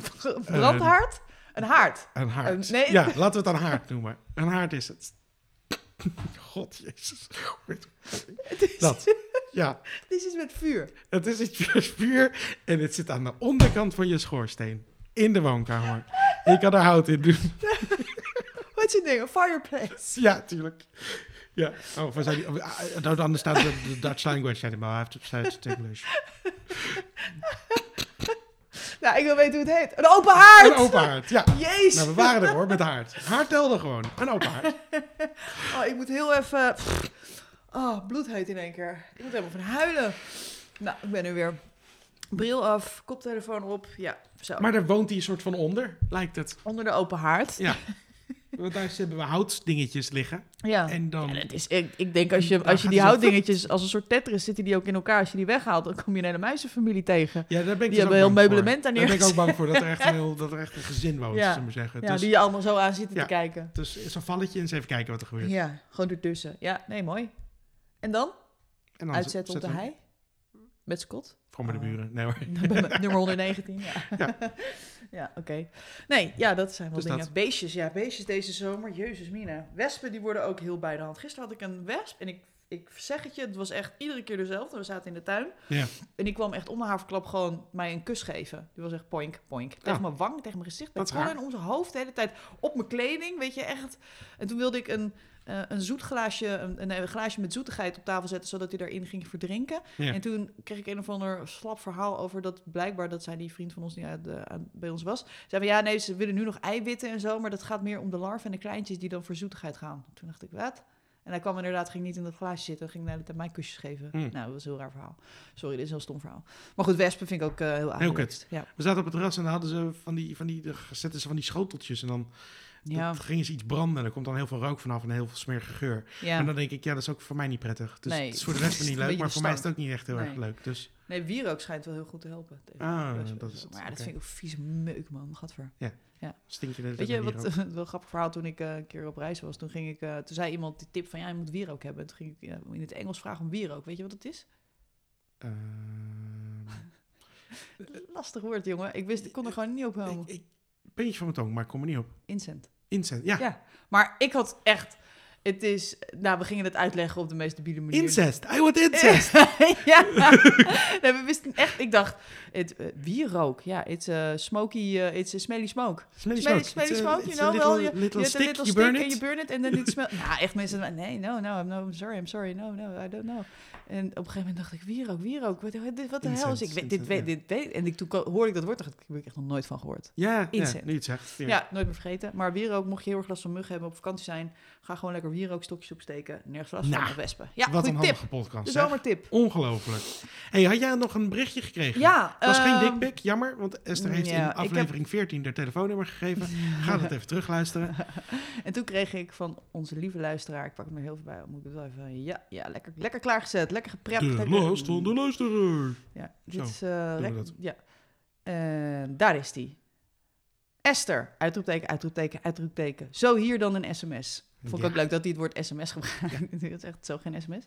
Speaker 2: Brandhaard? Een haard.
Speaker 1: een haard.
Speaker 2: Een- nee.
Speaker 1: Ja, laten we het een haard noemen. Een haard is het. God, jezus.
Speaker 2: Het is,
Speaker 1: Dat. Ja,
Speaker 2: dit is iets met vuur.
Speaker 1: het is iets vuur en het zit aan de onderkant van je schoorsteen. In de woonkamer. Je kan er hout in doen.
Speaker 2: Wat is het ding? Een fireplace.
Speaker 1: Ja, tuurlijk. Ja. Oh, waar zijn die? Oh, I don't understand the, the Dutch language anymore. I have to say it in English.
Speaker 2: Nou, ik wil weten hoe het heet. Een open haard!
Speaker 1: Een open haard, ja.
Speaker 2: Jezus.
Speaker 1: Nou, we waren er hoor, met haard. Haard telde gewoon. Een open haard.
Speaker 2: Oh, ik moet heel even... Oh, bloedheet in één keer. Ik moet helemaal van huilen. Nou, ik ben er weer. Bril af, koptelefoon op. Ja, zo.
Speaker 1: Maar daar woont hij een soort van onder, lijkt het.
Speaker 2: Onder de open haard.
Speaker 1: Ja. Want daar hebben we houtdingetjes liggen.
Speaker 2: Ja.
Speaker 1: En
Speaker 2: Ja,
Speaker 1: dan...
Speaker 2: dat is, ik, ik denk als je,
Speaker 1: Daar
Speaker 2: als je
Speaker 1: gaat hij
Speaker 2: die
Speaker 1: zo-
Speaker 2: houtdingetjes als een soort tetris zitten die ook in elkaar. Als je die weghaalt, dan kom je een hele muizenfamilie tegen.
Speaker 1: Ja, daar ben ik
Speaker 2: Die
Speaker 1: dus
Speaker 2: hebben
Speaker 1: ook
Speaker 2: heel
Speaker 1: bang
Speaker 2: meublement
Speaker 1: voor.
Speaker 2: daar
Speaker 1: Daar ben ik ook bang voor, dat er echt een, heel, dat er echt een gezin woont,
Speaker 2: Ja.
Speaker 1: zullen we zeggen.
Speaker 2: Ja,
Speaker 1: dus,
Speaker 2: die je allemaal zo aan zitten
Speaker 1: Ja.
Speaker 2: te kijken.
Speaker 1: dus is een valletje en eens even kijken wat er gebeurt.
Speaker 2: Ja, gewoon ertussen. Ja, nee, mooi. En dan?
Speaker 1: En dan
Speaker 2: Uitzet op de
Speaker 1: Nou,
Speaker 2: Oh.
Speaker 1: zetten we-
Speaker 2: hei. Met Scott.
Speaker 1: Voor mijn de buren. Nee hoor.
Speaker 2: Bij me- Nummer 119, ja.
Speaker 1: Ja.
Speaker 2: Ja, oké. Nee, ja, dat zijn wel
Speaker 1: Dus
Speaker 2: dingen.
Speaker 1: dat.
Speaker 2: Beestjes, ja, beestjes deze zomer. Jezus mina. Wespen, die worden ook heel bij de hand. Gisteren had ik een wesp en ik, ik zeg het je, het was echt iedere keer dezelfde. We zaten in de tuin
Speaker 1: Ja.
Speaker 2: en die kwam echt onder haar verklap gewoon mij een kus geven. Die was echt poink, poink. Tegen
Speaker 1: Ja.
Speaker 2: mijn wang, tegen mijn gezicht.
Speaker 1: Ah. Dat
Speaker 2: Dat
Speaker 1: is
Speaker 2: gewoon om zijn hoofd de hele tijd. Op mijn kleding, weet je, echt. En toen wilde ik een... eh, een zoet glaasje, een, een, een glaasje met zoetigheid op tafel zetten, zodat hij daarin ging verdrinken.
Speaker 1: Ja.
Speaker 2: En toen kreeg ik een of ander slap verhaal over dat blijkbaar dat zij die vriend van ons die aan de- aan- bij ons was. Zei van ja, nee, ze willen nu nog eiwitten en zo, maar dat gaat meer om de larven en de kleintjes die dan voor zoetigheid gaan. Toen dacht ik, wat? En hij kwam inderdaad, ging niet in dat glaasje zitten, ging naar de mij kusjes geven.
Speaker 1: Hmm.
Speaker 2: Nou, dat was een heel raar verhaal. Sorry, dit is een heel stom verhaal. Maar goed, wespen vind ik ook eh, heel aardig.
Speaker 1: kut.
Speaker 2: Ja.
Speaker 1: We zaten op het terras en dan hadden ze van die, van die, daar zetten ze van die schoteltjes en dan
Speaker 2: Ja,
Speaker 1: dat gingen ze iets branden en er komt dan heel veel rook vanaf en heel veel smerige geur.
Speaker 2: ja.
Speaker 1: En dan denk ik, ja, dat is ook voor mij niet prettig. Dus
Speaker 2: Nee.
Speaker 1: het is voor de rest
Speaker 2: Het is
Speaker 1: niet
Speaker 2: een
Speaker 1: leuk,
Speaker 2: beetje
Speaker 1: maar voor mij is het
Speaker 2: stank.
Speaker 1: ook niet echt heel erg
Speaker 2: Nee.
Speaker 1: leuk. Dus
Speaker 2: Nee, wierook schijnt wel heel goed te helpen. tegen
Speaker 1: Ah,
Speaker 2: wespen
Speaker 1: dat
Speaker 2: en
Speaker 1: is
Speaker 2: zo.
Speaker 1: het.
Speaker 2: Maar ja, dat
Speaker 1: Oké.
Speaker 2: vind ik ook vieze meuk, man. Gadver.
Speaker 1: stink je de hele
Speaker 2: Weet
Speaker 1: tijd
Speaker 2: je,
Speaker 1: naar
Speaker 2: wat
Speaker 1: wierook.
Speaker 2: wel een grappig verhaal toen ik eh, een keer op reis was. Toen, ging ik, eh, toen zei iemand die tip van ja, je moet wierook hebben. Toen ging ik eh, in het Engels vragen om wierook. Weet je wat het is? eh,
Speaker 1: Ehm,
Speaker 2: Lastig woord, jongen. Ik, wist, ik kon er gewoon niet op komen.
Speaker 1: ik, ik ben iets van mijn tong, maar ik kom er niet op.
Speaker 2: Incent.
Speaker 1: Incest, ja.
Speaker 2: Ja. Maar ik had echt... Het is... Nou, we gingen het uitleggen op de meest debiele manier.
Speaker 1: Incest, I want
Speaker 2: Eh,
Speaker 1: incest.
Speaker 2: ja. Nee, we wisten echt... Ik dacht, het, eh, wierook. Ja, it's a smoky... eh, it's a smelly smoke.
Speaker 1: Smelly
Speaker 2: Smelly-
Speaker 1: smoke.
Speaker 2: smelly
Speaker 1: It's a-
Speaker 2: smoke, you
Speaker 1: it's a
Speaker 2: know wel,
Speaker 1: Little, little
Speaker 2: Je hebt
Speaker 1: stick,
Speaker 2: een little
Speaker 1: you
Speaker 2: stick
Speaker 1: burn
Speaker 2: and
Speaker 1: it.
Speaker 2: you burn it and then it smells... nou, echt mensen... Nee, no, no, I'm, no, I'm sorry, I'm sorry, no, no, I don't know. En op een gegeven moment dacht ik, wierook, wierook, wat, wat, wat de hel is... Ik,
Speaker 1: Incense,
Speaker 2: weet- dit, weet,
Speaker 1: incense,
Speaker 2: dit weet... En ik, toen ko- hoorde ik dat woord, dacht ik, daar heb ik echt nog nooit van gehoord.
Speaker 1: Ja, ja,
Speaker 2: Incest.
Speaker 1: nu je het zegt. Ja.
Speaker 2: Ja, nooit meer vergeten. Maar wierook, mocht je heel erg last van muggen hebben op vakantie zijn... ga gewoon lekker wierookstokjes opsteken, nergens last
Speaker 1: Nou,
Speaker 2: van de wespen. Ja,
Speaker 1: Wat een
Speaker 2: goeie tip. Dus
Speaker 1: handige podcast.
Speaker 2: De
Speaker 1: zeg.
Speaker 2: zomertip.
Speaker 1: Ongelooflijk. hey, had jij nog een berichtje gekregen?
Speaker 2: Ja,
Speaker 1: Het was geen
Speaker 2: ehm, mm,
Speaker 1: dikpik, jammer, want Esther heeft
Speaker 2: ja,
Speaker 1: in
Speaker 2: ik
Speaker 1: aflevering 14 haar telefoonnummer gegeven. Ga dat even terugluisteren.
Speaker 2: En toen kreeg ik van onze lieve luisteraar... ik pak hem er heel veel bij, moet ik het wel even... Ja, ja lekker, lekker klaargezet, lekker geprept.
Speaker 1: De
Speaker 2: lekker-
Speaker 1: last van de luisteraar.
Speaker 2: Ja,
Speaker 1: Zo,
Speaker 2: dit is... eh,
Speaker 1: we
Speaker 2: rec-
Speaker 1: dat.
Speaker 2: Ja. En daar is die. Esther, uitroepteken, uitroepteken, uitroepteken. Zo hier dan een sms. Vond ik
Speaker 1: Ja.
Speaker 2: ook leuk dat hij het woord sms gebruikt. Het is echt zo geen sms.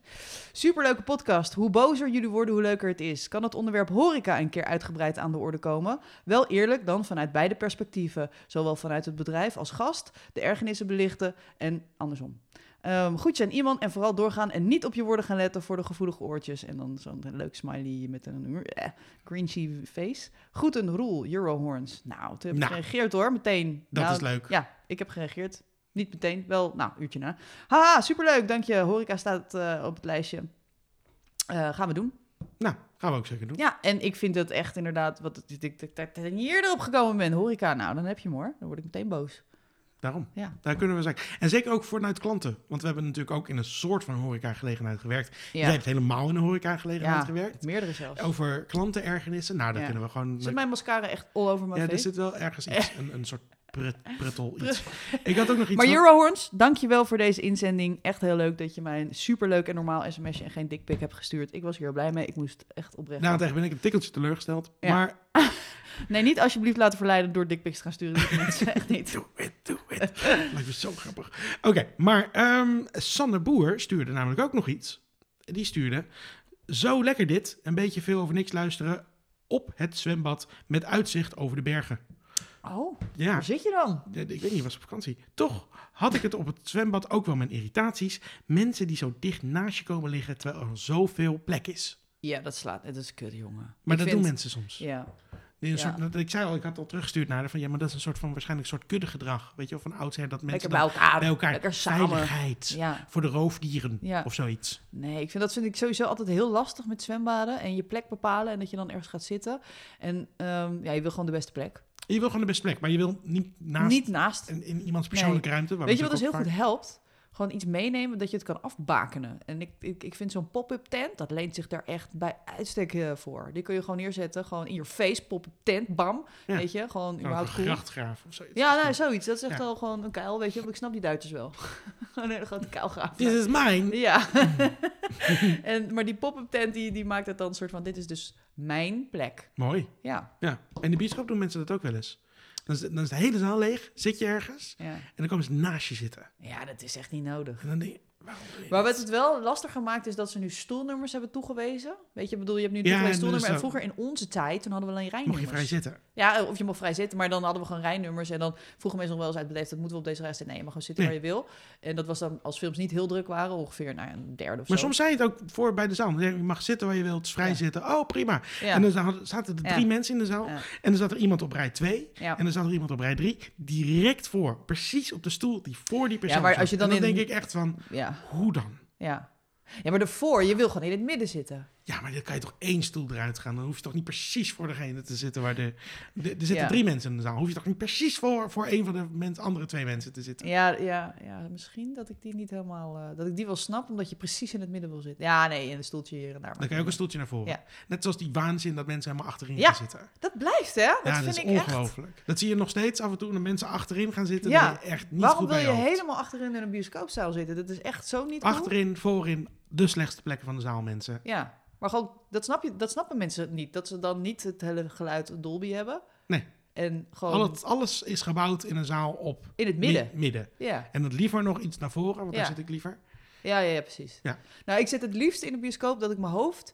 Speaker 2: Superleuke podcast. Hoe bozer jullie worden, hoe leuker het is. Kan het onderwerp horeca een keer uitgebreid aan de orde komen? Wel eerlijk dan vanuit beide perspectieven. Zowel vanuit het bedrijf als gast, de ergernissen belichten en andersom. Ehm, goed zijn iemand en vooral doorgaan en niet op je woorden gaan letten voor de gevoelige oortjes. En dan zo'n leuk smiley met een eh, grinchy face. Goed een roel, Eurohorns. Nou, toen heb ik
Speaker 1: Nou.
Speaker 2: gereageerd hoor, meteen.
Speaker 1: Dat
Speaker 2: nou,
Speaker 1: is leuk.
Speaker 2: Ja, ik heb gereageerd. Niet meteen, wel, nou, een uurtje na. Haha, superleuk, dank je. Horeca staat eh, op het lijstje. Eh, gaan we doen.
Speaker 1: Nou, gaan we ook zeker doen.
Speaker 2: Ja, en ik vind dat echt inderdaad, wat ik, ik, ik, ik, ik niet eerder op gekomen ben, horeca, nou, dan heb je hem hoor. Dan word ik meteen boos.
Speaker 1: Daarom.
Speaker 2: Ja.
Speaker 1: Daar kunnen we zijn. En zeker ook vanuit klanten. Want we hebben natuurlijk ook in een soort van horecagelegenheid gewerkt. Jij
Speaker 2: Ja,
Speaker 1: hebt helemaal in een horecagelegenheid
Speaker 2: Ja.
Speaker 1: gewerkt.
Speaker 2: meerdere zelfs.
Speaker 1: Over klantenergernissen. Nou, daar
Speaker 2: Ja.
Speaker 1: kunnen we gewoon...
Speaker 2: Zit mijn mascara echt all over mijn
Speaker 1: Ja, dus er
Speaker 2: face?
Speaker 1: zit wel ergens iets. Een, een soort pret, prettel iets. Ik had ook nog iets...
Speaker 2: Maar
Speaker 1: van-
Speaker 2: Eurohorns, dankjewel voor deze inzending. Echt heel leuk dat je mij een superleuk en normaal sms'je en geen dikpik hebt gestuurd. Ik was hier heel blij mee. Ik moest echt oprecht.
Speaker 1: Nou, tegen ben ik een tikkeltje teleurgesteld.
Speaker 2: Ja.
Speaker 1: Maar
Speaker 2: Nee, niet alsjeblieft laten verleiden door dikpiks te gaan sturen. Dat mensen echt niet.
Speaker 1: do it, do it. Lijkt me zo grappig. Oké, maar ehm Sander Boer stuurde namelijk ook nog iets. Die stuurde... Zo lekker dit. Een beetje veel over niks luisteren. Op het zwembad met uitzicht over de bergen.
Speaker 2: Oh,
Speaker 1: Ja,
Speaker 2: waar zit je dan?
Speaker 1: Ja, Ik weet niet, was op vakantie. Toch had ik het op het zwembad ook wel mijn irritaties. Mensen die zo dicht naast je komen liggen terwijl er zoveel plek is.
Speaker 2: Ja, dat slaat. Dat is kut, jongen.
Speaker 1: Maar dat
Speaker 2: Ik vind-
Speaker 1: doen mensen soms.
Speaker 2: Ja,
Speaker 1: Die een
Speaker 2: ja.
Speaker 1: soort- dat- ik zei al, ik had al teruggestuurd naar haar van ja, maar dat is een soort van waarschijnlijk een soort kuddegedrag. Weet je, wel, van oudsher dat
Speaker 2: lekker
Speaker 1: mensen
Speaker 2: bij
Speaker 1: dan
Speaker 2: elkaar.
Speaker 1: bij elkaar
Speaker 2: Lekker samen.
Speaker 1: veiligheid
Speaker 2: Ja,
Speaker 1: voor de roofdieren
Speaker 2: Ja.
Speaker 1: of zoiets.
Speaker 2: nee, ik vind, dat vind ik sowieso altijd heel lastig met zwembaden. En je plek bepalen en dat je dan ergens gaat zitten. En ehm, ja, je wil gewoon de beste plek.
Speaker 1: En je wil gewoon de beste plek, maar je wil niet naast
Speaker 2: Niet naast
Speaker 1: in, in iemands persoonlijke ruimte. waar
Speaker 2: Weet je wat dus heel
Speaker 1: natuurlijk
Speaker 2: goed
Speaker 1: ook
Speaker 2: helpt? Gewoon iets meenemen dat je het kan afbakenen. En ik, ik, ik vind zo'n pop-up tent, dat leent zich daar echt bij uitstek eh, voor. Die kun je gewoon neerzetten, gewoon in je face, pop-up tent, bam.
Speaker 1: Ja.
Speaker 2: Weet je, gewoon
Speaker 1: vaak-
Speaker 2: überhaupt
Speaker 1: Een
Speaker 2: cool.
Speaker 1: grachtgraaf of zoiets.
Speaker 2: Ja, nou, zoiets. Dat is echt
Speaker 1: Ja.
Speaker 2: al gewoon een kuil, weet je. want Ik snap die Duitsers wel. Gewoon een hele grote kuil graven.
Speaker 1: Dit is mijn.
Speaker 2: Ja. en, maar die pop-up tent, die, die maakt het dan een soort van, dit is dus mijn plek.
Speaker 1: Mooi.
Speaker 2: Ja,
Speaker 1: Ja. En in de bioscoop doen mensen dat ook wel eens. Dan is, dan is de hele zaal leeg, zit je ergens
Speaker 2: ja.
Speaker 1: en dan komen ze naast je zitten.
Speaker 2: ja dat is echt niet nodig.
Speaker 1: En dan denk je, Waarom doe je
Speaker 2: Waar
Speaker 1: dit?
Speaker 2: het het wel lastig gemaakt is dat ze nu stoelnummers hebben toegewezen. Weet je, ik bedoel, je hebt nu
Speaker 1: Ja,
Speaker 2: ja,
Speaker 1: en
Speaker 2: een
Speaker 1: dus
Speaker 2: stoelnummer. En
Speaker 1: dan-
Speaker 2: vroeger in onze tijd, toen hadden we alleen
Speaker 1: Mag
Speaker 2: rijnummers.
Speaker 1: je vrij zitten?
Speaker 2: Ja, eh, of je mocht vrij zitten, maar dan hadden we gewoon rijnummers. En dan vroegen mensen nog wel eens uit beleefd, dat moeten we op deze rij zitten. Nee, je mag gewoon zitten
Speaker 1: Nee.
Speaker 2: waar je wil. En dat was dan, als films niet heel druk waren, ongeveer nou, een derde of
Speaker 1: Maar
Speaker 2: zo.
Speaker 1: soms zei je het ook voor bij de zaal. Dan zei Je je mag zitten waar je wilt, het is vrij
Speaker 2: Ja.
Speaker 1: zitten. Oh, prima.
Speaker 2: Ja,
Speaker 1: En dan zaten- zaten er drie
Speaker 2: Ja.
Speaker 1: mensen in de zaal.
Speaker 2: Ja.
Speaker 1: En er zat er iemand op rij 2.
Speaker 2: ja.
Speaker 1: En er zat er iemand op rij 3. Direct voor. Precies op de stoel die voor die persoon
Speaker 2: maar
Speaker 1: zat.
Speaker 2: als je dan
Speaker 1: en dan
Speaker 2: in-
Speaker 1: denk ik echt van,
Speaker 2: ja,
Speaker 1: hoe dan?
Speaker 2: ja. Ja, maar daarvoor, je wil gewoon in het midden zitten.
Speaker 1: Ja, maar dan kan je toch één stoel eruit gaan. Dan hoef je toch niet precies voor degene te zitten waar de... de- er zitten
Speaker 2: Ja.
Speaker 1: drie mensen in de zaal. Hoef je toch niet precies voor, voor een van de mens, andere twee mensen te zitten.
Speaker 2: Ja, ja, ja, misschien dat ik die niet helemaal... eh, dat ik die wel snap, omdat je precies in het midden wil zitten. Ja, nee, in een stoeltje hier en daar.
Speaker 1: Dan kan je ook een stoeltje naar voren.
Speaker 2: Ja.
Speaker 1: Net zoals die waanzin dat mensen helemaal achterin
Speaker 2: Ja,
Speaker 1: gaan zitten.
Speaker 2: Dat blijft, hè? Dat
Speaker 1: ja,
Speaker 2: vind
Speaker 1: dat is
Speaker 2: ik echt...
Speaker 1: ongelooflijk. Dat zie je nog steeds af en toe. Dat mensen achterin gaan zitten.
Speaker 2: Ja.
Speaker 1: Ja. echt niet
Speaker 2: Waarom
Speaker 1: goed
Speaker 2: wil
Speaker 1: bij
Speaker 2: je
Speaker 1: hoofd.
Speaker 2: helemaal achterin in een bioscoopzaal zitten? Dat is echt zo niet cool.
Speaker 1: Achterin, voorin, de slechtste plekken van de zaal, mensen.
Speaker 2: Ja, maar gewoon, dat, snap je, dat snappen mensen niet. Dat ze dan niet het hele geluid Dolby hebben.
Speaker 1: Nee.
Speaker 2: En gewoon
Speaker 1: Al het- alles is gebouwd in een zaal op
Speaker 2: in het
Speaker 1: mi-
Speaker 2: midden.
Speaker 1: midden.
Speaker 2: Ja.
Speaker 1: En dat liever nog iets naar voren, want daar
Speaker 2: Ja.
Speaker 1: zit ik liever.
Speaker 2: Ja, ja, ja, precies.
Speaker 1: Ja.
Speaker 2: Nou, ik zit het liefst in de bioscoop dat ik mijn hoofd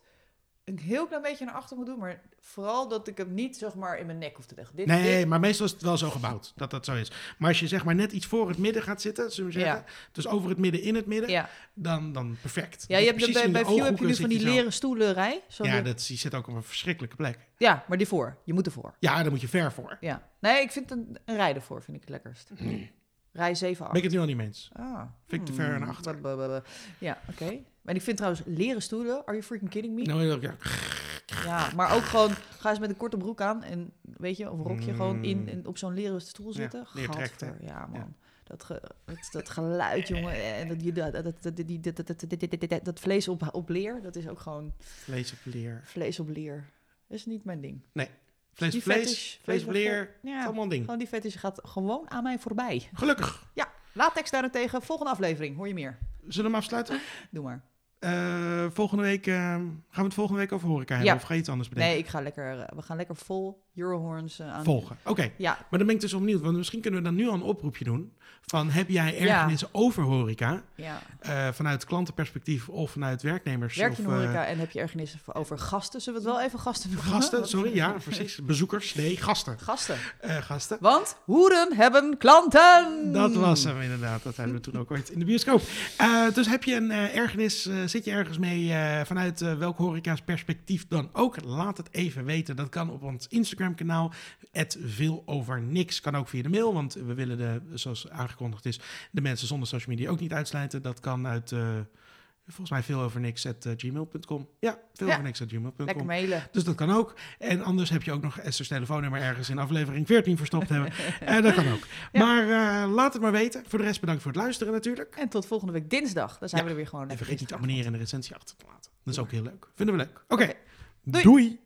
Speaker 2: een heel klein beetje naar achter moet doen. Maar vooral dat ik hem niet, zeg maar, in mijn nek hoef te leggen. Dit,
Speaker 1: Nee,
Speaker 2: dit-
Speaker 1: maar meestal is het wel zo gebouwd dat dat zo is. Maar als je zeg maar net iets voor het midden gaat zitten, zullen we
Speaker 2: Ja.
Speaker 1: zeggen, dus over het midden in het midden,
Speaker 2: Ja,
Speaker 1: dan, dan perfect.
Speaker 2: ja
Speaker 1: Dus
Speaker 2: je hebt
Speaker 1: precies
Speaker 2: bij,
Speaker 1: in de
Speaker 2: bij View heb je
Speaker 1: ooghoeken
Speaker 2: nu van die
Speaker 1: zit je zo.
Speaker 2: leren stoelenrij. Zo
Speaker 1: Ja,
Speaker 2: ja,
Speaker 1: dat, die zit ook op een verschrikkelijke plek.
Speaker 2: ja, maar die voor. Je moet ervoor.
Speaker 1: Ja, daar moet je ver voor.
Speaker 2: Ja. Nee, ik vind een, een rij ervoor vind ik het lekkerst. Rij 7, 8.
Speaker 1: Ben ik het nu al niet mee eens?
Speaker 2: Ah.
Speaker 1: Vind ik te ver
Speaker 2: hmm,
Speaker 1: naar achter.
Speaker 2: blah, blah, blah. Ja, oké. En ik vind trouwens leren stoelen, are you freaking kidding me?
Speaker 1: Nou, ja,
Speaker 2: Ja, maar ook gewoon, ga eens met een korte broek aan en weet je, of een rokje gewoon in,
Speaker 1: Mm.
Speaker 2: en op zo'n leren stoel zitten.
Speaker 1: neertrekt, hè?
Speaker 2: Gadver, ja man. Dat, ge, dat, dat geluid, jongen, en dat, je- dat, dat, dat, die- dat, dat, dat, dat- dat- dat- dat vlees op, op leer, dat is ook gewoon
Speaker 1: vlees op leer.
Speaker 2: vlees op leer. Dat is niet mijn ding.
Speaker 1: Vlees op
Speaker 2: Die
Speaker 1: vlees,
Speaker 2: fetish,
Speaker 1: vlees op
Speaker 2: vlees op
Speaker 1: leer. Het is
Speaker 2: Ja,
Speaker 1: Allemaal een ding.
Speaker 2: gewoon die fetish gaat gewoon aan mij voorbij.
Speaker 1: Gelukkig.
Speaker 2: Latex daarentegen, volgende aflevering, hoor je meer.
Speaker 1: Zullen we hem afsluiten?
Speaker 2: Doe maar.
Speaker 1: Eh, volgende week eh, gaan we het volgende week over horeca hebben.
Speaker 2: Ja.
Speaker 1: Of ga je iets anders bedenken?
Speaker 2: Nee, ik ga lekker, eh, we gaan lekker vol Eurohorns eh, aan.
Speaker 1: Volgen. Oké.
Speaker 2: Ja,
Speaker 1: Maar dan ben ik dus wel benieuwd, want misschien kunnen we dan nu al een oproepje doen. Van heb jij ergernissen over horeca?
Speaker 2: ja.
Speaker 1: Eh, vanuit klantenperspectief of vanuit werknemers?
Speaker 2: Werk je
Speaker 1: of,
Speaker 2: in de
Speaker 1: eh,
Speaker 2: horeca en heb je ergernissen voor- over gasten? Zullen we het wel even gasten noemen?
Speaker 1: gasten,
Speaker 2: Wat-
Speaker 1: sorry, ja, precies. Bezoekers, nee, gasten.
Speaker 2: Gasten.
Speaker 1: Eh, gasten.
Speaker 2: Want hoeren hebben klanten.
Speaker 1: Dat was hem inderdaad. Dat hebben we toen ook ooit in de bioscoop. Eh, dus heb je een eh, ergernis, eh, zit je ergens mee eh, vanuit eh, welk horeca's perspectief dan ook? Laat het even weten. Dat kan op ons Instagram kanaal. veel over niks. Kan ook via de mail. Want we willen de, zoals aangekondigd is, de mensen zonder social media ook niet uitsluiten. Dat kan uit eh, volgens mij veel over niks eh, gmail.com. Ja, veel
Speaker 2: Ja.
Speaker 1: over niks
Speaker 2: Lekker
Speaker 1: gmail.com.
Speaker 2: mailen.
Speaker 1: Dus dat kan ook. En anders heb je ook nog Esther's telefoonnummer ergens in aflevering 14 verstopt hebben. Eh, dat kan ook.
Speaker 2: Ja.
Speaker 1: Maar eh, laat het maar weten. Voor de rest bedankt voor het luisteren natuurlijk.
Speaker 2: En tot volgende week dinsdag. Dan zijn we er weer gewoon.
Speaker 1: En
Speaker 2: lekker
Speaker 1: vergeet niet te
Speaker 2: dinsdag.
Speaker 1: abonneren en de recensie achter te laten. Dat is ook heel leuk. Vinden we leuk. Oké.
Speaker 2: Oké. Doei.
Speaker 1: Doei.